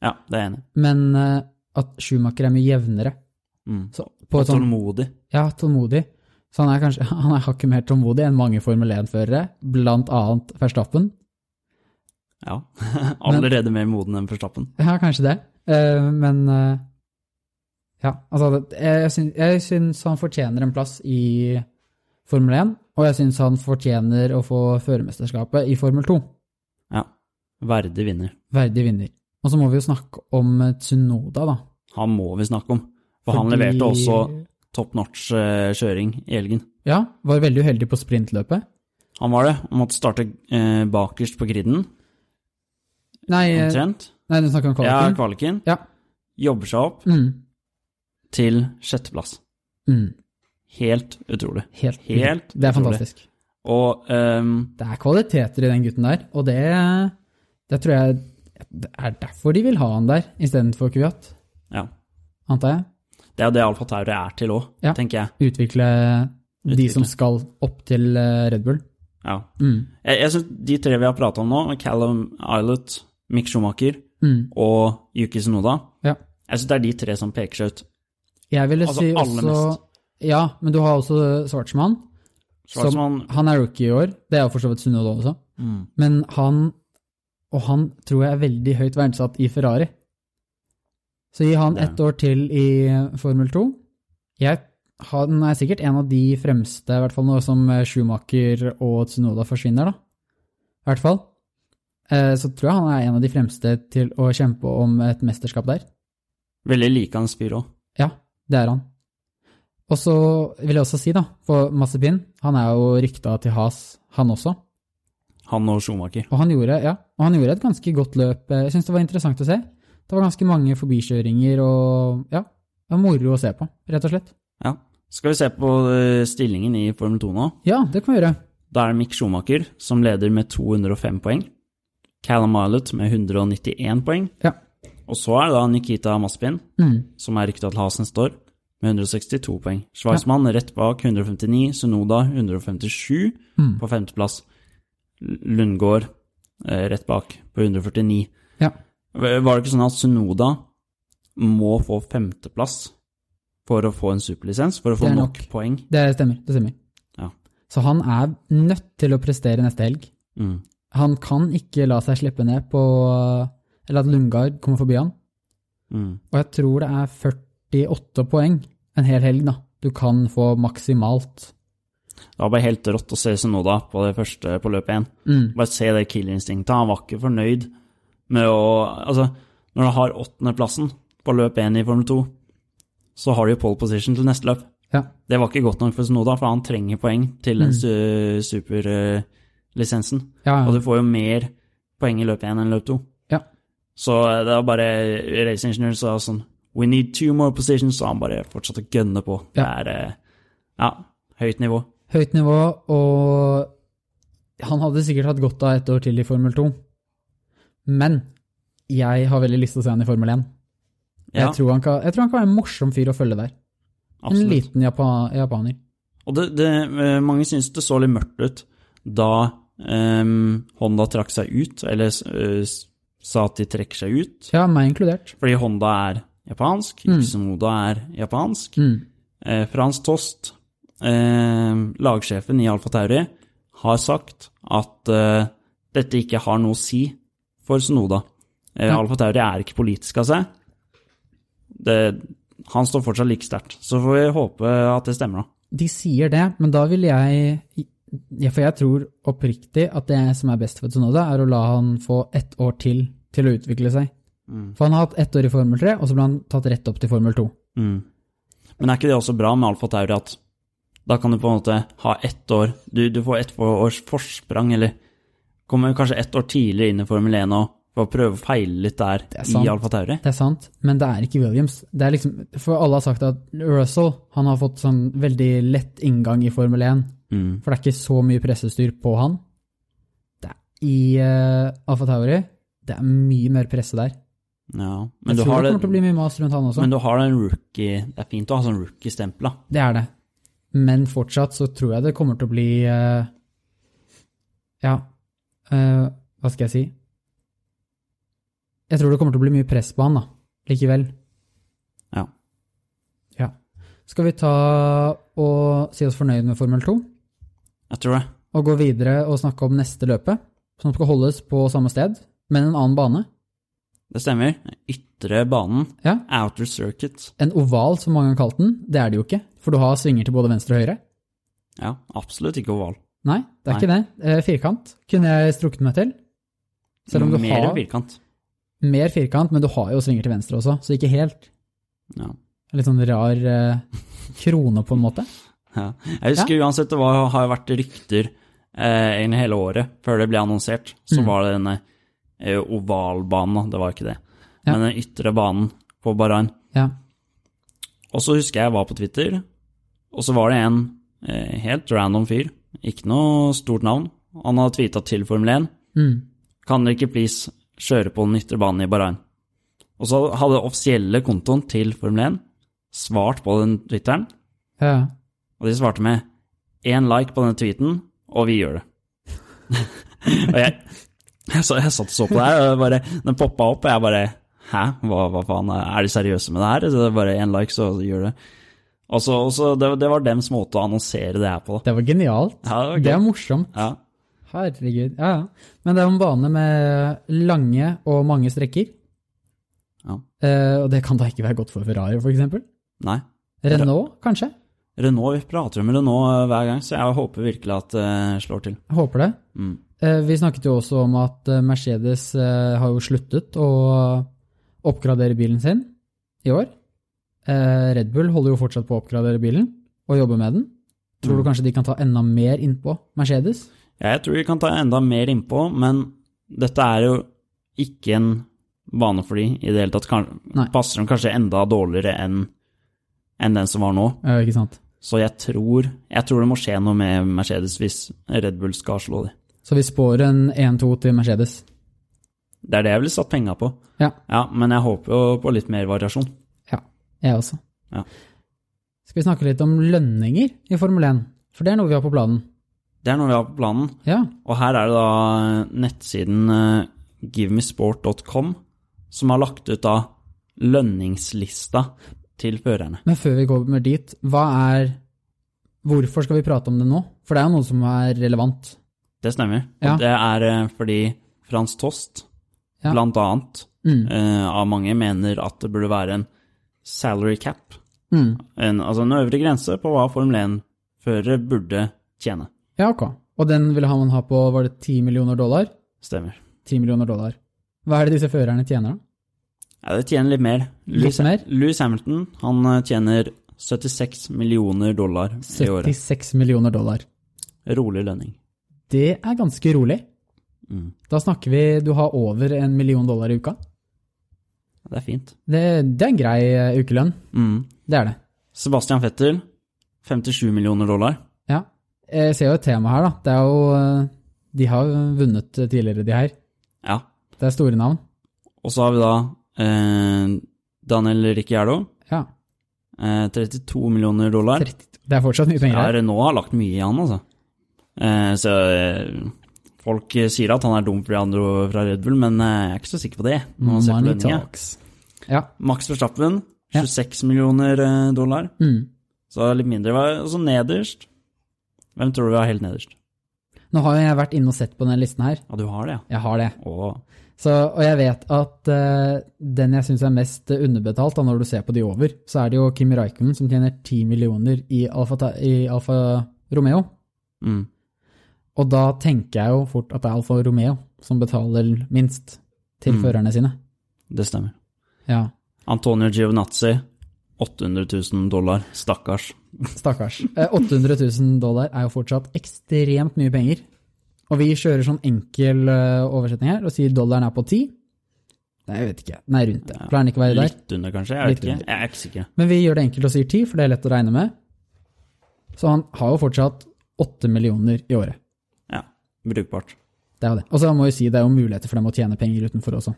Ja, det er jeg enig i.
men eh, at Schumacher er mye jevnere.
Mm.
Så, på et
Og
sånn
tålmodig.
Ja, tålmodig. Så han er kanskje han er hakket mer tålmodig enn mange Formel 1-førere, blant annet Verstappen.
Ja. Allerede mer moden enn Forstappen.
Ja, kanskje det. Eh, men eh, ja, altså det- Jeg, syns- jeg syns han fortjener en plass i Formel 1, og jeg syns han fortjener å få førermesterskapet i Formel 2.
Ja. Verdig vinner.
Verdig vinner. Og så må vi jo snakke om eh, Tsunoda, da.
Han må vi snakke om. For han
Fordi-
leverte også top notch eh, kjøring i helgen.
Ja, var veldig uheldig på sprintløpet.
Han var det. Han måtte starte eh, bakerst på griden,
Nei, eh,
omtrent.
nei du snakker om
Ja,
kvaliken.
kvaliken.
Ja.
Jobber seg opp
Mm,
til sjetteplass.
mm,
Helt utrolig.
helt,
Helt
Det er
utrolig.
fantastisk.
Og ehm,
Det er kvaliteter i den gutten der, og det, det tror jeg det er derfor de vil ha han der istedenfor Kviat,
ja.
antar jeg.
Det er jo det Alfa Tauri er til òg,
Ja.
tenker jeg.
Utvikle de
Utvikle.
som skal opp til eh, Red Bull.
Ja.
Mm,
Jeg, jeg syns de tre vi har prata om nå, Callum Islet, Mick Schumacher
mm,
og Yuki Sunoda,
ja.
jeg syns det er de tre som peker seg ut.
Jeg ville
Altså,
si
aller
også
mest.
Ja, men du har også Schwartzmann. som-
Schwarzman,
Han er rookie i år. Det er jo for så vidt Sunoda også.
mm,
Men han, og han tror jeg er veldig høyt verdsatt i Ferrari. Så gi han
Det er
ett år til i Formel 2. Jeg, han er sikkert en av de fremste, i hvert fall nå som eh, Schumacher og Tsunoda forsvinner, da. I hvert fall. Eh, Så tror jeg han er en av de fremste til å kjempe om et mesterskap der.
veldig like hans fyr òg.
Ja, det er han. Og så vil jeg også si, da, for Mazepin, han er jo rykta til has, han også.
Han og Schumacher.
Og han gjorde, ja, og han gjorde et ganske godt løp. Eh, Jeg syns det var interessant å se. Det var ganske mange forbikjøringer og ja, det var moro å se på, rett og slett.
Ja. Skal vi se på eh, stillingen i Formel 2 nå.
Ja, det kan vi gjøre.
Da er det Mick Schumacher som leder med 205 poeng. Callum Milot med 191 poeng.
Ja.
Og så er det da Nikita Maspin,
Mm.
som er rykta til Haas neste år, med 162 poeng. Schweizmann rett bak 159, Sunoda 157
Mm.
på femteplass. L- Lundgaard eh, rett bak på 149.
Ja.
V- Var det ikke sånn at Sunoda må få femteplass for å få en superlisens, for å
Det
få
er
nok.
nok.
poeng?
Det stemmer. det stemmer.
Ja.
Så han er nødt til å prestere neste helg.
Mm.
Han kan ikke la seg slippe ned på eh, Eller at Lundgaard kommer forbi han.
Mm.
Og jeg tror det er 48 poeng en hel helg, da. Du kan få maksimalt.
Det var bare helt rått å se Sunoda på det første på løpet igjen.
Mm.
Bare se det killerinstinktet. Han var ikke fornøyd med å Altså, når du har åttendeplassen på løp én i Formel 2, så har du jo pole position til neste løp.
Ja.
Det var ikke godt nok for Sunoda, for han trenger poeng til den su superlisensen.
Mm. Ja,
Og
ja.
du får jo mer poeng i løp én enn løp to.
Ja.
Så eh, det var bare raceingeniøren sa sånn We need two more positions, så han bare fortsatte å gønne på. Det
Ja.
er eh, Ja, høyt nivå.
Høyt nivå, og han hadde sikkert hatt godt av et år til i Formel 2. Men jeg har veldig lyst til å se han i Formel 1.
Ja,
Jeg, tror han kan, jeg tror han kan være en morsom fyr å følge der. En
absolutt.
liten japa, japaner.
Og det, det, eh, mange syntes det så litt mørkt ut da ehm, Honda trakk seg ut, eller eh, s- sa at de trekker seg ut.
Ja, meg inkludert.
Fordi Honda er japansk,
Mm.
Yusumoda er japansk.
Mm.
Eh, Frans Tost, eh, lagsjefen i Alfa Tauri, har sagt at eh, dette ikke har noe å si for Sonoda. Eh,
Ja.
Alfa Tauri er ikke politisk av seg. Det, han står fortsatt like sterkt. Så får vi håpe at det stemmer, da.
De sier det, men da vil jeg ja, For jeg tror oppriktig at det som er best for Tsunoda, er å la han få ett år til til å utvikle seg. For han har hatt ett år i Formel 3, og så ble han tatt rett opp til Formel 2.
Mm. Men er ikke det også bra med Alfa Tauri at da kan du på en måte ha ett år Du, du får ett års forsprang, eller kommer kanskje ett år tidligere inn i Formel 1 og får prøve å feile litt der
er sant.
i Alfa Tauri?
Det er sant, men det er ikke Williams. Det er liksom, for alle har sagt at Russell han har fått sånn veldig lett inngang i Formel 1,
Mm.
for det er ikke så mye pressestyr på han. Det er I uh, Alfa Tauri det er mye mer presse der.
Ja.
Jeg
Men, du
tror
har
det
det,
kommer til å bli mye mas rundt han også.
men du har den rookie Det er fint å ha sånn rookie-stempel, da.
Det er det. Men fortsatt så tror jeg det kommer til å bli eh, Ja, eh, hva skal jeg si? Jeg tror det kommer til å bli mye press på han, da. Likevel.
Ja.
Ja. Skal vi ta og si oss fornøyd med Formel 2,
Jeg tror det.
og gå videre og snakke om neste løpet, som skal holdes på samme sted, men en annen bane?
Det stemmer. Ytre banen,
Ja.
outer circuit.
En oval, som mange har kalt den. Det er det jo ikke, for du har svinger til både venstre og høyre.
Ja, absolutt ikke oval.
Nei, det er
Nei.
ikke det. Eh, firkant kunne jeg strukket meg til. Selv om du
Mer
har
firkant.
mer firkant, men du har jo svinger til venstre også, så ikke helt.
Ja.
Litt sånn rar eh, krone, på en måte.
Ja. Jeg husker uansett, det var, har jo vært rykter eh, egentlig hele året før det ble annonsert.
Mm.
Så var det denne eh, ovalbanen, da. det var ikke det.
Ja.
Men den ytre banen på Bahrain.
Ja.
Og så husker jeg jeg var på Twitter, og så var det en eh, helt random fyr, ikke noe stort navn, han hadde tweeta til Formel 1.
Mm.
Kan dere ikke please kjøre på den ytre banen i Bahrain? Og så hadde offisielle kontoen til Formel 1 svart på den twitteren.
ja.
Og de svarte med én like på denne tweeten, og vi gjør det. og jeg, jeg, så, jeg satt og så på det her, og jeg bare, den poppa opp, og jeg bare Hæ, hva, hva faen, er de seriøse med det her? Så det er bare én like, så gjør det. Og så, og så det, det var dems måte å annonsere det her på.
Det var genialt.
Ja, det var
Det er
gøy.
morsomt.
Ja,
Herregud. Ja, ja. Men det er en bane med lange og mange strekker,
ja.
eh, og det kan da ikke være godt for Ferrari, for eksempel.
Nei.
Renault, kanskje?
Renault, vi prater jo med Renault eh, hver gang, så jeg håper virkelig at det slår til.
Jeg håper det.
Mm.
Eh, Vi snakket jo også om at eh, Mercedes eh, har jo sluttet å oppgradere bilen sin i år. Eh, Red Bull holder jo fortsatt på å oppgradere bilen og jobbe med den. Tror du kanskje de kan ta enda mer innpå Mercedes?
Jeg tror vi kan ta enda mer innpå, men dette er jo ikke en bane for de i det hele tatt. Kan,
Nei.
passer dem kanskje enda dårligere enn enn den som var nå.
Eh, Ikke sant?
Så jeg tror, jeg tror det må skje noe med Mercedes hvis Red Bull skal slå dem.
Så vi spår en 1-2 til Mercedes.
Det er det jeg ville satt penga på.
Ja.
Ja, men jeg håper jo på litt mer variasjon.
Ja, jeg også.
Ja.
Skal vi snakke litt om lønninger i Formel 1? For det er noe vi har på planen.
Det er noe vi har på planen.
Ja,
Og her er det da nettsiden eh, givemesport.com som har lagt ut da lønningslista til førerne.
Men før vi kommer dit, hva er Hvorfor skal vi prate om det nå? For det er jo noe som er relevant.
Det stemmer.
Ja.
Og det er eh, fordi Frans Tost,
Ja.
blant annet,
Mm.
eh, av mange mener at det burde være en salary cap.
Mm.
En, altså en øvre grense på hva Formel 1-førere burde tjene.
Ja, ok. Og den ville han ha på, var det 10 millioner dollar?
Stemmer.
10 millioner dollar. Hva er det disse førerne tjener, da?
Ja, det tjener litt mer.
Litt mer?
Louis Hamilton han eh, tjener 76 millioner dollar i året.
76 millioner dollar.
Rolig lønning.
Det er ganske rolig.
Mm.
Da snakker vi du har over en million dollar i uka.
Ja, Det er fint.
Det, det er en grei eh, ukelønn.
Mm.
Det er det.
Sebastian Fettel, 57 millioner dollar.
Ja. Eh, Jeg ser jo et tema her, da. Det er jo eh, De har vunnet eh, tidligere, de her.
Ja.
Det er store navn.
Og så har vi da eh, Daniel Ricciardo.
Ja.
Eh, 32 millioner dollar.
30. Det er fortsatt mye penger
Ja,
her.
Renault har lagt mye i han, altså. Eh, så eh, folk eh, sier at han er dum for de andre fra Red Bull, men eh, jeg er ikke så sikker på det. når man ser på
Money
lønningen.
talks. Ja.
Max Verstappen,
Ja.
26 millioner eh, dollar.
Mm.
Så litt mindre. var- Og så nederst Hvem tror du er helt nederst?
Nå har jo jeg vært inne og sett på denne listen her.
Ja, du har det, ja.
Jeg har det.
Å,
Så, og jeg vet at eh, den jeg syns er mest underbetalt, da, når du ser på de over, så er det jo Kimi Raikkonen som tjener 10 millioner i Alfa, Ta- i Alfa Romeo.
Mm.
Og da tenker jeg jo fort at det er Alfa Romeo som betaler minst til
Mm.
førerne sine.
Det stemmer.
Ja,
Antonio Giovinazzi, 800 000 dollar. Stakkars.
stakkars. Eh, 800 000 dollar er jo fortsatt ekstremt mye penger. Og vi kjører sånn enkel eh, oversetning her og sier dollaren er på 10. Nei, jeg vet ikke. Nei, rundt det. Pleier den ikke å være der?
Litt under, kanskje? Jeg
Litt
vet ikke.
under.
Jeg er ikke sikker.
Men vi gjør det enkelt og sier 10, for det er lett å regne med. Så han har jo fortsatt 8 millioner i året.
Ja, Brukbart.
Det er jo det. Og så må vi si det er jo muligheter for dem å tjene penger utenfor også.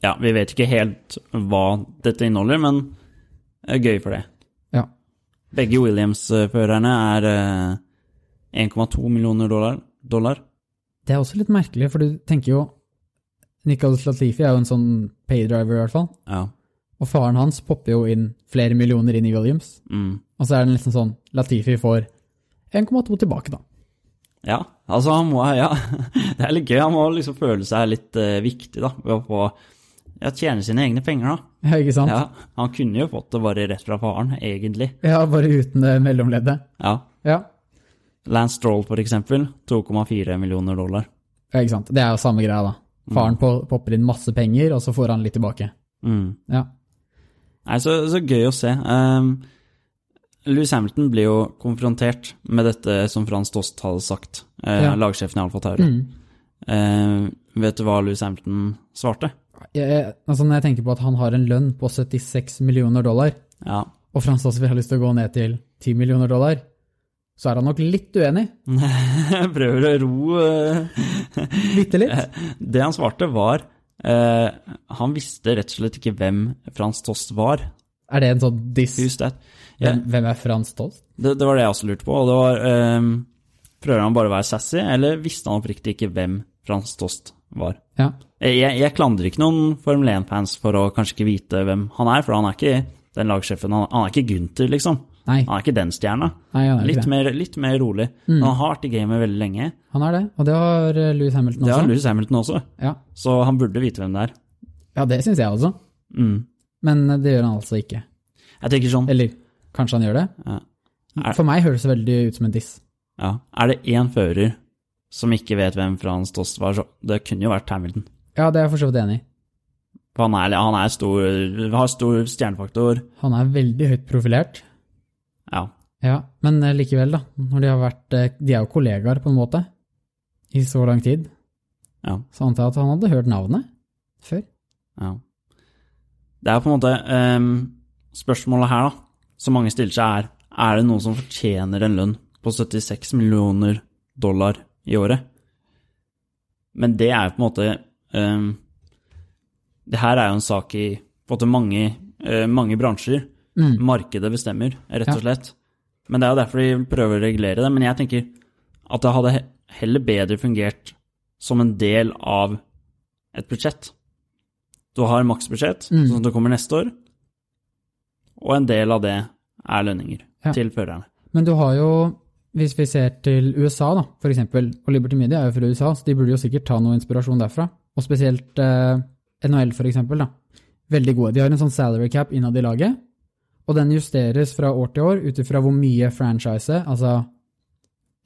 Ja, vi vet ikke helt hva dette inneholder, men det er gøy for det.
Ja.
Begge Williams-førerne er eh, 1,2 millioner dollar. dollar.
Det er også litt merkelig, for du tenker jo Nicholas Latifi er jo en sånn paydriver, i hvert fall.
Ja.
Og faren hans popper jo inn flere millioner inn i Williams.
Mm.
Og så er den liksom sånn Latifi får 1,2 tilbake, da.
Ja, altså han må ja. Det er litt gøy. Han må liksom føle seg litt eh, viktig, da. Ved å få ja, tjene sine egne penger, da.
Ja, ikke sant?
Ja, han kunne jo fått det bare rett fra faren, egentlig.
Ja, bare uten det mellomleddet.
Ja.
Ja.
Lance Stroll, for eksempel. 2,4 millioner dollar.
ja, ikke sant. Det er jo samme greia, da. Faren på, popper inn masse penger, og så får han litt tilbake.
Mm.
Ja.
Nei, så, så gøy å se. Um, Louis Hamilton ble jo konfrontert med dette som Frans Tost hadde sagt, eh,
Ja.
lagsjefen i Alfa Tauri. Eh, vet du hva Louis Hamilton svarte?
Jeg, jeg- altså Når jeg tenker på at han har en lønn på 76 millioner dollar,
Ja,
og Frans Aasvik har lyst til å gå ned til 10 millioner dollar, så er han nok litt uenig.
jeg prøver å ro eh,
Bitte litt.
Det han svarte var eh, Han visste rett og slett ikke hvem Frans Tost var.
Er det en sånn diss?
Who's that? Ja,
Hvem, hvem er Frans Tost?
det, det var det jeg også lurte på. Og det var eh, Prøver han bare å være sassy, eller visste han oppriktig ikke hvem Frans Tost var?
Ja.
Eh, Jeg, jeg klandrer ikke noen Formel 1-fans for å kanskje ikke vite hvem han er, for han er ikke den lagsjefen. Han, han er ikke Gunther, liksom.
Nei,
Han er ikke den stjerna.
nei han er ikke Mm.
Litt
det.
mer, litt mer rolig. Men han har vært i gamet veldig lenge.
Han er det, og det har eh, Lewis Hamilton
Det har
også.
Louis Hamilton også,
Ja,
så han burde vite hvem det er.
ja det syns jeg også.
Mm.
Men eh, det gjør han altså ikke.
Jeg tenker sånn
Eller kanskje han gjør det?
ja. Er-
For meg høres det veldig ut som en diss.
Ja. Er det én fører som ikke vet hvem Frans Tost var, så det kunne jo vært Hamilton.
Ja, det er jeg for så vidt enig i.
For han, er, han er stor, har stor stjernefaktor.
Han er veldig høyt profilert.
Ja.
Ja, men eh, likevel, da. Når de har vært eh, De er jo kollegaer, på en måte, i så lang tid.
ja,
Så antar jeg at han hadde hørt navnet før.
ja. Det er på en måte ehm, Spørsmålet her, da, som mange stiller seg, er er det noen som fortjener en lønn på 76 millioner dollar i året. Men det er jo på en måte ehm, Det her er jo en sak i på en måte mange, eh, mange bransjer.
Mm.
Markedet bestemmer, rett
Ja.
og slett. Men det er jo derfor de prøver å regulere det. Men jeg tenker at det hadde he- heller bedre fungert som en del av et budsjett. Du har maksbudsjett,
Mm.
sånn at det kommer neste år, og en del av det er lønninger
Ja.
til førerne.
Men du har jo, hvis vi ser til USA, da, for eksempel, og Liberty Media er jo fra USA, så de burde jo sikkert ta noe inspirasjon derfra. Og spesielt eh, NHL, for eksempel, da. Veldig gode. De har en sånn salary cap innad i laget, og den justeres fra år til år ut ifra hvor mye franchise, altså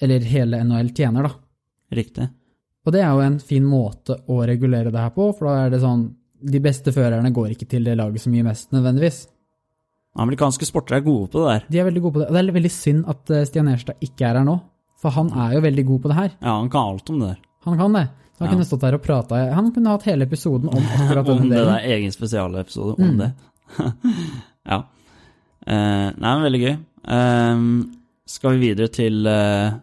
Eller hele NHL tjener, da.
Riktig.
Og det er jo en fin måte å regulere det her på, for da er det sånn De beste førerne går ikke til det laget som gir mest, nødvendigvis.
Amerikanske sporter er gode på det der.
De er veldig gode på det. Og det er veldig synd at eh, Stian Erstad ikke er her nå, for han er jo veldig god på det her.
Ja, han kan alt om det der.
Han kan det. Så han
Ja.
kunne stått der og prata Han kunne hatt hele episoden om akkurat
Om
denne
det
delen.
der egen spesialepisode
Mm.
om det. ja. Eh, nei, men veldig gøy. Eh, skal vi videre til eh,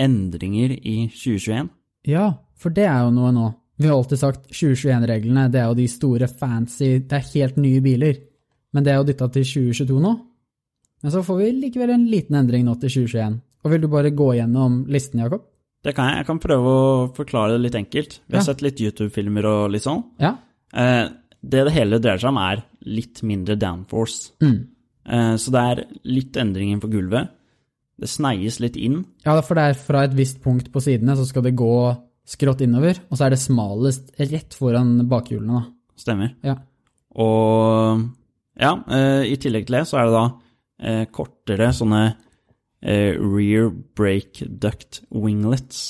endringer i 2021?
Ja, for det er jo noe nå. Vi har alltid sagt 2021-reglene, det er jo de store fancy Det er helt nye biler. Men det er jo dytta til 2022 nå. Men så får vi likevel en liten endring nå til 2021. Og vil du bare gå gjennom listen, Jakob?
Det kan jeg. Jeg kan prøve å forklare det litt enkelt. Vi har
Ja.
sett litt YouTube-filmer og litt sånn.
Ja.
Eh, det det hele dreier seg om, er litt mindre downforce.
Mm.
Eh, så det er litt endringer på gulvet. Det sneies litt inn.
Ja, for det er fra et visst punkt på sidene, så skal det gå skrått innover, og så er det smalest rett foran bakhjulene. da.
Stemmer.
Ja.
Og ja, eh, i tillegg til det så er det da eh, kortere sånne eh, rear brake duct winglets,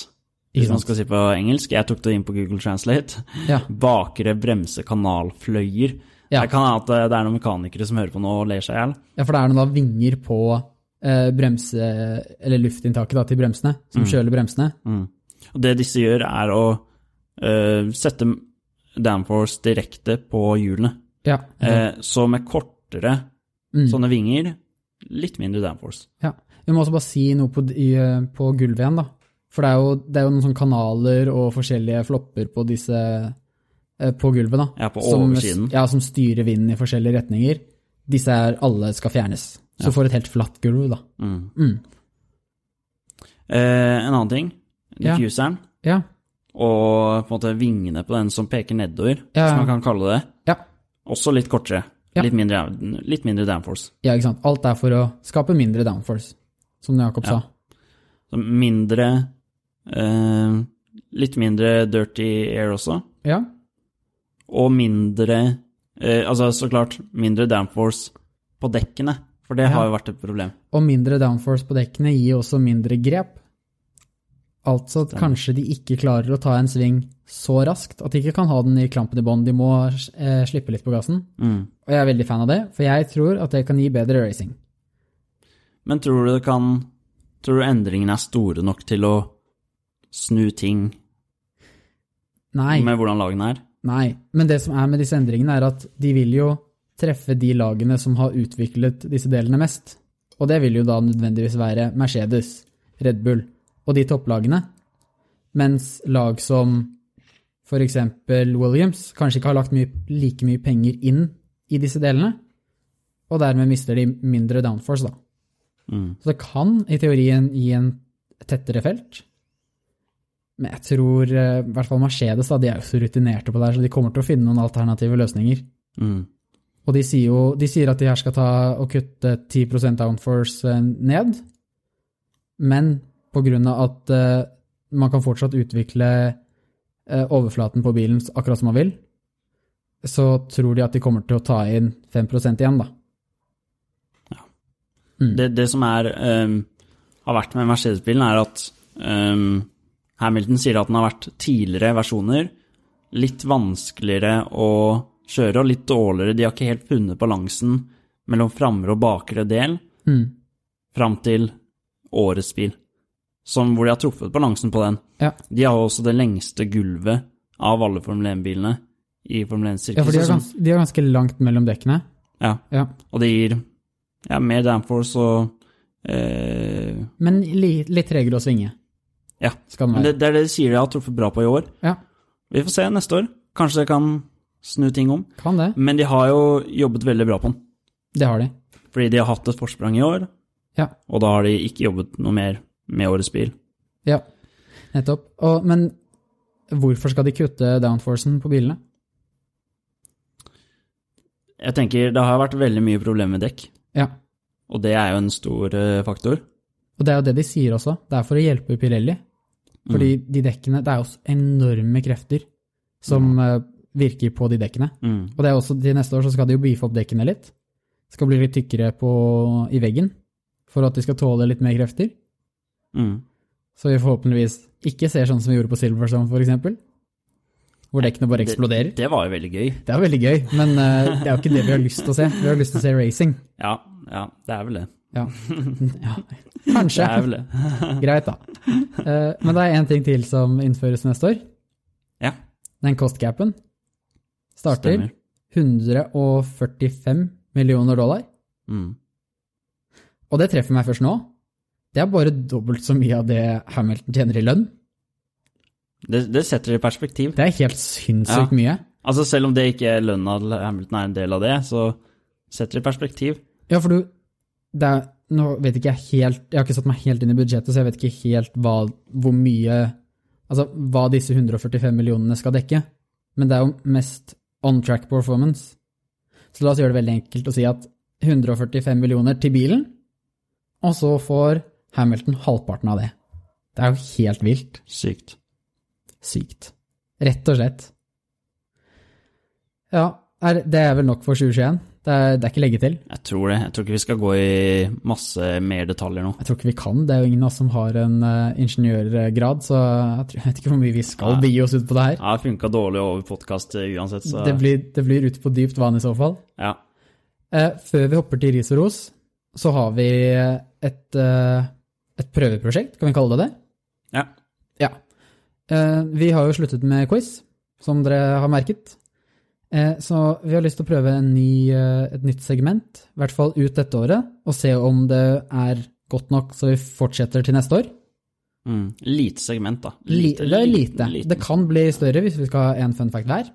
Ikke
hvis man
sant?
skal si på engelsk. Jeg tok det inn på Google Translate.
Ja.
Bakre bremsekanalfløyer.
Ja.
Det kan hende at eh, det er noen mekanikere som hører på nå og ler seg i hjel.
ja, for det er noen da vinger på eh, bremse, eller luftinntaket da, til bremsene, som kjøler bremsene.
Mm. Og det disse gjør, er å eh, sette downforce direkte på hjulene.
Ja.
Eh, så med kortere
Mm.
sånne vinger, litt mindre downforce.
ja. Vi må også bare si noe på, i, eh, på gulvet igjen, da. For det er, jo, det er jo noen sånne kanaler og forskjellige flopper på disse eh, på gulvet, da.
Ja, på
som,
oversiden.
Ja, som styrer vinden i forskjellige retninger. Disse er alle skal fjernes. Så får et helt flatt gulv, da.
Mm.
Mm.
Eh, en annen ting,
Ja.
diffuseren,
Ja.
og på en måte vingene på den som peker nedover,
Ja.
som man kan kalle det,
Ja.
også litt kortere.
Ja.
Litt, mindre, litt mindre downforce.
ja, ikke sant. Alt er for å skape mindre downforce, som Jakob sa.
Så mindre eh, Litt mindre dirty air også.
Ja.
og mindre eh, Altså, så klart, mindre downforce på dekkene, for det har jo vært et problem.
Og mindre downforce på dekkene gir også mindre grep. Altså at kanskje de ikke klarer å ta en sving så raskt at de ikke kan ha den i klampen i bånn. De må eh, slippe litt på gassen.
Mm.
Og jeg er veldig fan av det, for jeg tror at det kan gi bedre racing.
Men tror du det kan Tror du endringene er store nok til å snu ting
Nei,
med hvordan lagene er?
nei. Men det som er med disse endringene, er at de vil jo treffe de lagene som har utviklet disse delene mest. Og det vil jo da nødvendigvis være Mercedes, Red Bull og de topplagene. Mens lag som for eksempel Williams kanskje ikke har lagt mye, like mye penger inn i disse delene, og dermed mister de mindre downforce, da.
Mm.
Så det kan i teorien gi en tettere felt. Men jeg tror eh, i hvert fall Mercedes da, de er jo så rutinerte på det her, så de kommer til å finne noen alternative løsninger.
Mm.
Og de sier jo de sier at de her skal ta og kutte 10 downforce eh, ned, men på grunn av at eh, man kan fortsatt utvikle eh, overflaten på bilen akkurat som man vil, så tror de at de kommer til å ta inn 5 igjen, da.
Det, det som er, ehm, har vært med Mercedes-bilen, er at ehm, Hamilton sier at den har vært tidligere versjoner, litt vanskeligere å kjøre og litt dårligere. De har ikke helt funnet balansen mellom framre og bakre del
Mm.
fram til årets bil, som, hvor de har truffet balansen på den.
Ja.
De har jo også det lengste gulvet av alle Formel 1-bilene i Formel
ja, for de er,
1-sirkuset.
gans, de er ganske langt mellom dekkene.
Ja,
Ja.
og det gir ja, mer downforce og eh,
Men li, litt tregere å svinge,
Ja.
skal den
Men det,
være.
det er det de sier de har truffet bra på i år.
Ja,
Vi får se neste år. Kanskje det kan snu ting om.
kan det.
Men de har jo jobbet veldig bra på den.
Det har de.
Fordi de har hatt et forsprang i år,
Ja,
og da har de ikke jobbet noe mer med årets bil.
ja. nettopp. Og, men hvorfor skal de kutte downforcen på bilene?
Jeg tenker det har vært veldig mye problemer med dekk,
Ja,
og det er jo en stor eh, faktor.
og det er jo det de sier også. Det er for å hjelpe Pirelli. Fordi
Mm.
de dekkene, det er jo s- enorme krefter som eh, virker på de dekkene.
Mm.
Og det er også til neste år så skal de jo beefe opp dekkene litt. Det skal bli litt tykkere på, i veggen for at de skal tåle litt mer krefter.
Mm.
Så vi forhåpentligvis ikke ser sånn som vi gjorde på Silverstone for eksempel. Hvor dekkene bare eksploderer.
Det var jo veldig gøy.
Det er veldig gøy, men eh, det er jo ikke det vi har lyst til å se. Vi har lyst til å se racing.
Ja, ja det er vel det.
Ja. ja.
Det
Kanskje.
er vel det.
Greit, da. Eh, men det er én ting til som innføres neste år.
Ja,
Den cost-capen starter
stemmer.
145 millioner dollar.
Mm.
Og det treffer meg først nå. Det er bare dobbelt så mye av det Hamilton tjener i lønn.
Det, det setter det i perspektiv.
Det er helt
Ja.
sinnssykt mye.
Altså, selv om det ikke er lønna til Hamilton er en del av det, så setter det i perspektiv.
Ja, for du det er, Nå vet ikke jeg helt Jeg har ikke satt meg helt inn i budsjettet, så jeg vet ikke helt hva, hvor mye Altså hva disse 145 millionene skal dekke. Men det er jo mest on track performance. Så la oss gjøre det veldig enkelt og si at 145 millioner til bilen, og så får Hamilton halvparten av det. Det er jo helt vilt.
Sykt.
Sykt. Rett og slett. Ja, er, det er vel nok for 2021. Det er, det er ikke legge til.
Jeg tror det. Jeg tror ikke vi skal gå i masse mer detaljer nå.
Jeg tror ikke vi kan. Det er jo ingen av oss som har en eh, ingeniørgrad, så jeg tror- jeg vet ikke hvor mye vi skal
Nei.
begi oss ut på det her.
Jeg har funka dårlig over podkast uansett, så
Det blir, det blir ute på dypt vann i så fall.
ja.
Eh, før vi hopper til ris og ros, så har vi et, eh, et prøveprosjekt, kan vi kalle det det?
ja.
Ja. Eh, vi har jo sluttet med quiz, som dere har merket. Eh, så vi har lyst til å prøve en ny, eh, et nytt segment, i hvert fall ut dette året, og se om det er godt nok så vi fortsetter til neste år.
Mm. Lite segment, da.
Li- det er lite.
liten, liten.
Det kan bli større hvis vi skal ha én fun fact hver.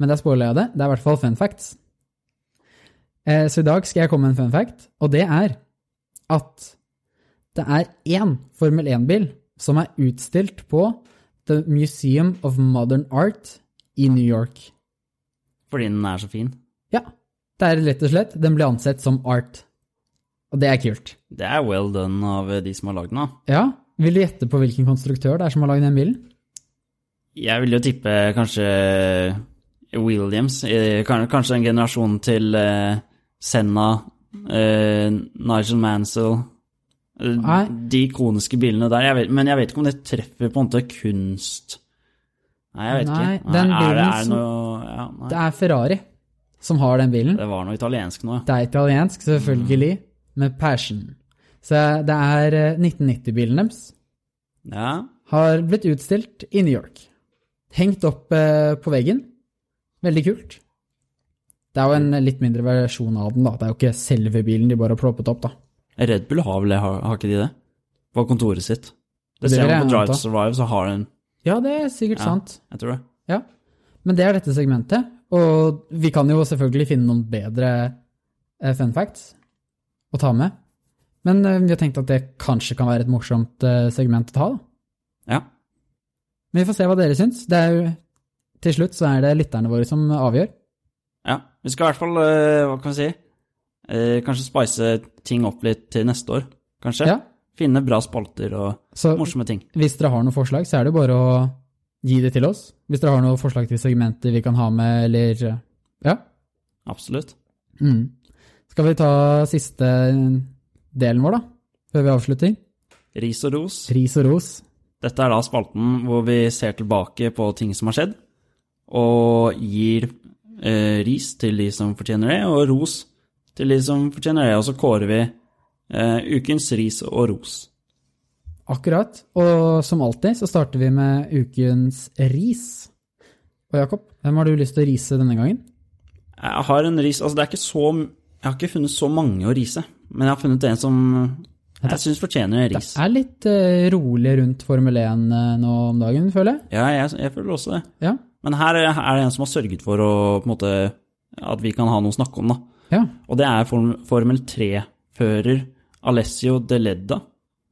Men der spoiler jeg det. Det er i hvert fall fun facts. Eh, Så i dag skal jeg komme med en fun fact, og det er at det er én Formel 1-bil som er utstilt på The Museum of Modern Art i New York.
Fordi den er så fin.
Ja, det er rett og slett. Den ble ansett som art. Og det er kult.
Det er well done av eh, de som har lagd den. da.
Ja, vil du gjette på hvilken konstruktør det er som har lagd den bilen?
Jeg vil jo tippe kanskje Williams. eh, kan- Kanskje en generasjon til eh, Senna, eh, Nigel Mansell. eh,
Nei.
De ikoniske bilene der. Jeg vet, men jeg vet ikke om det treffer på en måte kunst. Nei, jeg vet
Nei,
ikke.
den
er det,
bilen
er det
som-
noe ja, nei.
Det er Ferrari som har den bilen.
Det var noe italiensk nå, ja.
Det er italiensk, selvfølgelig, med passion. Så det er eh, 1990-bilen deres
ja.
har blitt utstilt i New York. Hengt opp eh, på veggen. Veldig kult. Det er jo en litt mindre versjon av den, da. Det er jo ikke selve bilen de bare har ploppet opp, da.
Red Bull har vel det, har, har ikke de det? På kontoret sitt. Det
Det
ser
vil
man
jeg
på Drive to
anta.
Survive, så har den
Ja, det er sikkert
Ja.
sant.
Jeg tror det.
Ja. Men det er dette segmentet, og vi kan jo selvfølgelig finne noen bedre eh, fun facts å ta med. Men eh, vi har tenkt at det kanskje kan være et morsomt eh, segment å ta, da.
Ja.
Men vi får se hva dere syns. Det er jo, til slutt så er det lytterne våre som avgjør.
ja. Vi skal i hvert fall, eh, hva kan vi si, Eh, kanskje spice ting opp litt til neste år, kanskje.
Ja.
Finne bra spalter og
Så
morsomme ting.
hvis dere har noen forslag, så er det bare å gi det til oss. Hvis dere har noen forslag til segmenter vi kan ha med, eller eh, Ja.
Absolutt.
Mm. Skal vi ta siste delen vår, da? Før vi avslutter?
Ris og ros.
Ris og ros.
Dette er da spalten hvor vi ser tilbake på ting som har skjedd, og gir eh, ris til de som fortjener det, og ros til de som fortjener det. Og så kårer vi eh, ukens ris og ros.
Akkurat. Og som alltid så starter vi med ukens ris. Og Jakob, hvem har du lyst til å rise denne gangen?
Jeg har en ris Altså, det er ikke så Jeg har ikke funnet så mange å rise, men jeg har funnet en som jeg syns fortjener en
Det
ris.
er litt eh, rolig rundt Formel 1 nå om dagen, føler jeg.
Ja, jeg, jeg føler også det.
Ja.
Men her er er det en som har sørget for å på en måte At vi kan ha noe å snakke om, da.
Ja.
Og det er Form- Formel 3-fører Alessio De Ledda.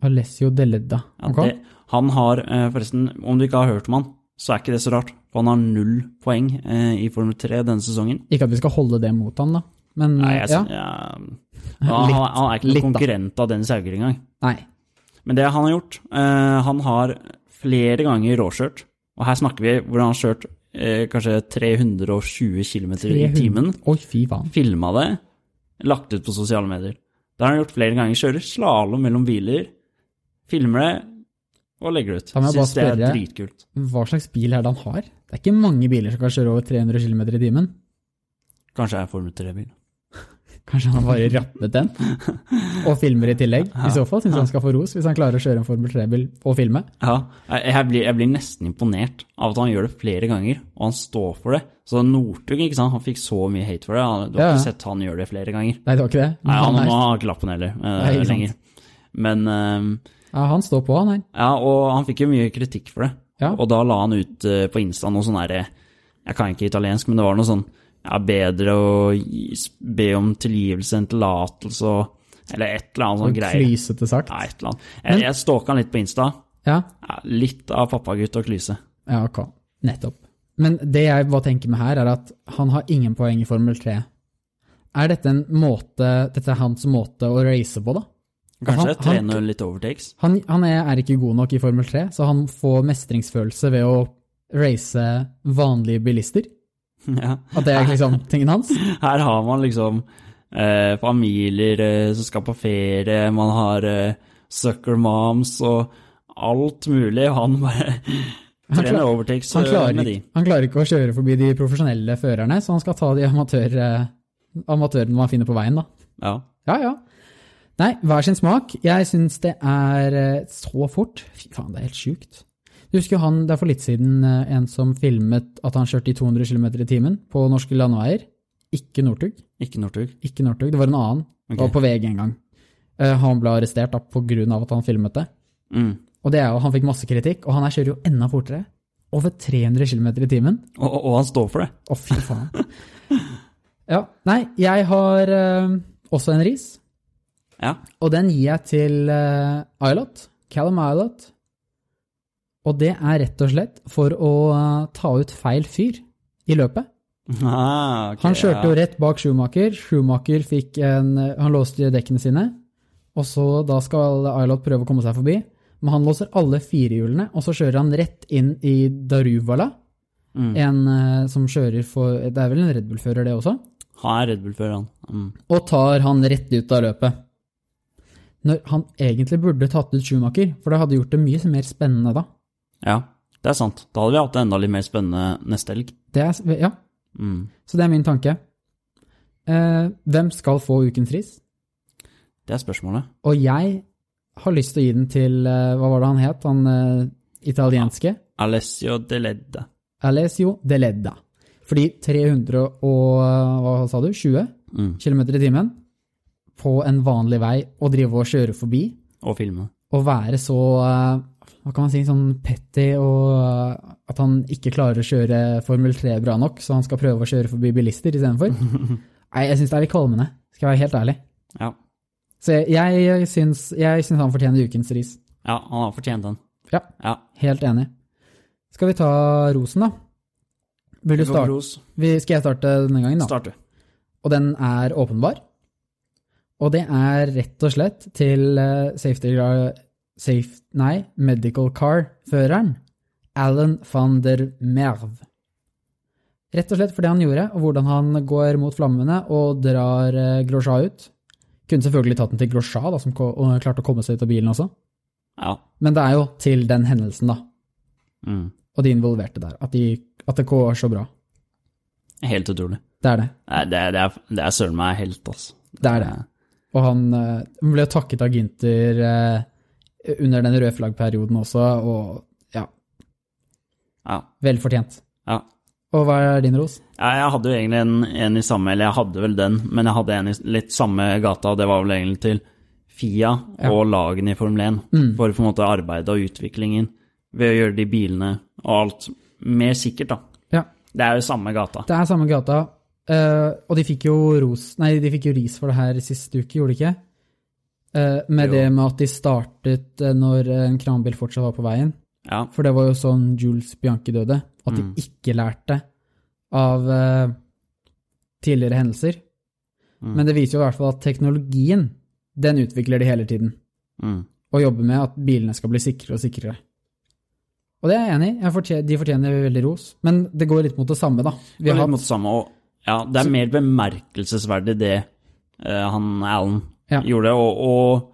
Alessio Deledda.
Ja,
Ok.
det, han har, eh, forresten, om du ikke har hørt om han, så er ikke det så rart. For han har null poeng eh, i Formel 3 denne sesongen.
Ikke at vi skal holde det mot han, da. Men
Nei, jeg,
ja.
ja. han, han, han er ikke
Litt,
noen
da.
konkurrent av Dennis Hauger engang.
Nei.
Men det han har gjort eh, Han har flere ganger råkjørt. Og her snakker vi hvordan han har kjørt eh, kanskje 320 km i
300.
timen.
Oi, fy faen.
Filma det, lagt ut på sosiale medier. Det har han gjort flere ganger. Kjører slalåm mellom biler, filmer det og legger det ut.
Da må jeg bare
Syns det er
spørre-
dritkult.
Hva slags bil er det han har? Det er ikke mange biler som kan kjøre over 300 km i timen.
Kanskje jeg er Formel 3-bil.
Kanskje han har bare rappet den? Og filmer i tillegg. I så fall syns han skal få ros, hvis han klarer å kjøre en Formel 3-bil og filme.
Ja, jeg, jeg, blir, jeg blir nesten imponert av at han gjør det flere ganger, og han står for det. Så Northug ikke sant? Han fikk så mye hate for det. Han, du har
Ja, ja.
ikke sett han gjøre det flere ganger.
Nei, det var ikke det.
Nei, han,
er-
han har ikke lappen heller eh,
Nei, ikke sant.
lenger. Men eh,
ja, han står på, han her.
ja, og han fikk jo mye kritikk for det.
Ja.
Og da la han ut eh, på Insta noe sånn derre Jeg kan ikke italiensk, men det var noe sånn ja, bedre å gi- be om tilgivelse enn tillatelse og Eller et eller annet sånn greier.
Klysete sagt.
Nei, et eller annet. Jeg, jeg stalka han litt på Insta.
Ja.
Ja, litt av pappagutt og klyse.
ja, ok. Nettopp. Men det jeg bare tenker med her, er at han har ingen poeng i Formel 3. Er dette en måte, dette er hans måte å race på, da?
Kanskje
Han- han-
3-0 litt overtakes.
Han, han er, er ikke god nok i Formel 3, så han får mestringsfølelse ved å race vanlige bilister.
Ja.
At det er liksom tingen hans.
Her har man liksom eh, familier eh, som skal på ferie, man har eh, sucker moms og alt mulig. og Han bare
Han
trener
klar-
overtakes
Han
eh,
klarer,
med de.
ikke, han klarer ikke å kjøre forbi de profesjonelle førerne, så han skal ta de amatør, eh, amatørene man finner på veien, da.
Ja.
Ja, ja. Nei, hver sin smak. Jeg syns det er eh, så fort. Fy faen, det er helt sjukt. Du husker jo han, det er for litt siden, eh, en som filmet at han kjørte i 200 km i timen på norske landeveier? Ikke Northug.
Ikke Northug.
Ikke Northug, det var en annen. Det var
Ok.
på VG en gang. Eh, Han ble arrestert da, på grunn av at han filmet det.
Mm.
Og det er jo, han fikk masse kritikk, og han her kjører jo enda fortere. Over 300 km i timen.
Og, og og han står for det.
Å, fy faen. Ja, nei, jeg har eh, også en ris.
Ja.
Og den gir jeg til uh, Islot, Callum Islot. Og det er rett og slett for å eh, ta ut feil fyr i løpet.
Ah, ok,
Han kjørte jo
ja.
rett bak Schumacher. Schumacher fikk en Han låste dekkene sine. Og så da skal Islot prøve å komme seg forbi. Men han låser alle firehjulene, og så kjører han rett inn i Daruvala.
Mm.
En eh, som kjører for Det er vel en Red Bull-fører, det også?
Han er Red Bull-fører, han. Mm.
og tar han rett ut av løpet. Når han egentlig burde tatt ut Schumacher, for det hadde gjort det mye mer spennende da.
Ja, det er sant. Da hadde vi hatt det enda litt mer spennende neste helg.
Det er, ja,
Mm.
så det er min tanke. Eh, hvem skal få ukens ris?
Det er spørsmålet.
Og jeg har lyst til å gi den til, eh, hva var det han het, han eh, italienske?
Alessio de Ledde.
Alessio de Ledda. Fordi 300 og, eh, hva sa du, 20
Mm.
kilometer i timen på en vanlig vei å drive og kjøre forbi,
Og filmene.
å være så eh, hva kan man si, sånn petty og eh, at han ikke klarer å kjøre Formel 3 bra nok, så han skal prøve å kjøre forbi bilister istedenfor. Nei, jeg syns det er litt kvalmende, skal jeg være helt ærlig.
Ja.
Så jeg, jeg, syns, jeg syns han fortjener ukens ris.
ja, han har fortjent den.
Ja.
Ja.
Helt enig. Skal vi ta rosen, da? Vil du starte?
Ros,
Vi- Skal jeg starte denne gangen, da?
Start du.
Og den er åpenbar. Og det er rett og slett til eh, safety car safe, Nei, medical car-føreren. Alan van der Merve. Rett og slett for det han gjorde, og hvordan han går mot flammene og drar eh, Grosjean ut. Kunne selvfølgelig tatt den til Grosjean, da, som ko- og klarte å komme seg ut av bilen også.
Ja.
Men det er jo til den hendelsen, da,
Mm.
og de involverte der, at, de, at det går så bra.
Helt utrolig.
Det er det.
Nei, det, det er, det er søren meg helt, altså.
Det er det. Og han eh, han ble takket av Gynter eh, under den røde flaggperioden også, og ja,
Ja.
velfortjent.
ja.
Og hva er din ros?
Ja, Jeg hadde jo egentlig en, en i samme, eller jeg hadde vel den, men jeg hadde en i litt samme gata, og det var vel egentlig til FIA og lagene i Formel 1,
Mm.
for på en måte arbeidet og utviklingen ved å gjøre de bilene og alt mer sikkert, da.
Ja,
Det er jo samme gata.
det er samme gata, eh, og de fikk jo ros, nei, de fikk jo ris for det her siste uke, gjorde de ikke? Eh, med
Jo.
det med at de startet eh, når en kranbil fortsatt var på veien,
Ja,
for det var jo sånn Jules Bianchi døde, at
Mm.
de ikke lærte av eh, tidligere hendelser.
Mm.
Men det viser jo i hvert fall at teknologien, den utvikler de hele tiden.
mm.
og jobbe med at bilene skal bli sikrere og sikrere. Og det er jeg enig i. Jeg fortje- De fortjener veldig ros. Men det går litt mot det samme, da. Vi
det
har
er litt
hatt,
mot det samme, og ja, det er mer bemerkelsesverdig det eh, han Alan
Ja.
gjorde, og, og,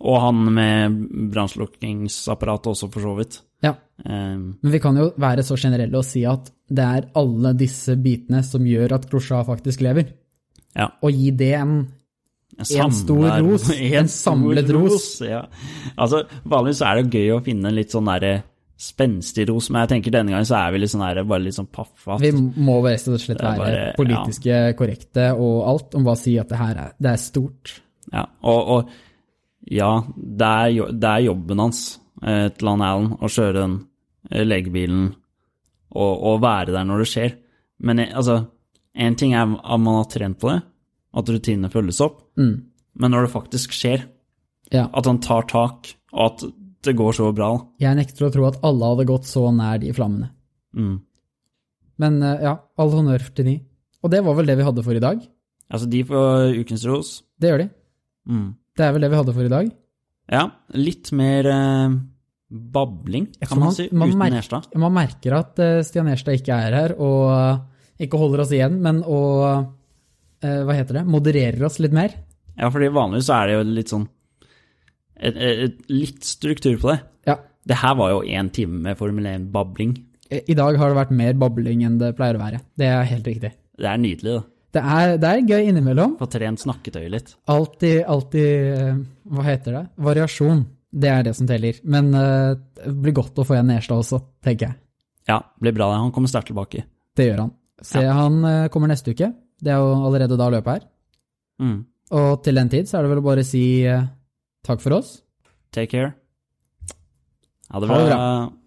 og han med brannslukkingsapparatet også, for så vidt.
ja,
Eh,
men vi kan jo være så generelle og si at det er alle disse bitene som gjør at Grosja faktisk lever.
Ja.
Og gi det en En stor
samler-
ros. En
stor
samlet ros.
Ja. Altså, vanligvis så er det gøy å finne litt sånn derre spenstig ros, men jeg tenker denne gangen så er vi litt sånn derre bare litt sånn paffa.
Vi må rett og slett være
er bare-
politiske korrekte og alt, om hva å si at det her er, det er stort.
Ja, og, og ja, det er, jo- det er jobben hans eh, til han Allen å kjøre den eh, legebilen og, og være der når det skjer. Men eh, altså, en ting er at man har trent på det, at rutinene følges opp, men når det faktisk skjer,
Ja.
at han tar tak, og at det går så bra. da.
Jeg nekter å tro at alle hadde gått så nær de flammene.
Mm.
Men eh, ja, all honnør til de. Og det var vel det vi hadde for i dag.
Altså, de får ukens ros.
Det gjør de.
Mm.
Det er vel det vi hadde for i dag.
Ja, litt mer eh, babling,
For
kan man, si, uten
merker-
Nerstad.
Man merker at eh, Stian Nerstad ikke er her, og eh, ikke holder oss igjen, men å eh, Hva heter det? Modererer oss litt mer.
Ja, fordi vanligvis så er det jo litt sånn et, et, et, Litt struktur på det.
Ja.
Det her var jo én time med Formel 1-babling.
I i dag har det vært mer babling enn det pleier å være. Det er helt riktig.
Det er nydelig, da.
Det er, det er gøy innimellom.
Få trent snakketøyet litt.
Alltid, alltid eh, Hva heter det? Variasjon. Det er det som teller. Men eh, det blir godt å få igjen Nerstad også, tenker jeg.
Ja, blir bra, det. Han kommer sterkt tilbake.
Det gjør han. Se, han eh, kommer neste uke. Det er jo allerede da løpet er.
Mm.
Og til den tid så er det vel å bare si eh, takk for oss.
Take care. Ha
Ha
det bra.
det
Ha det bra.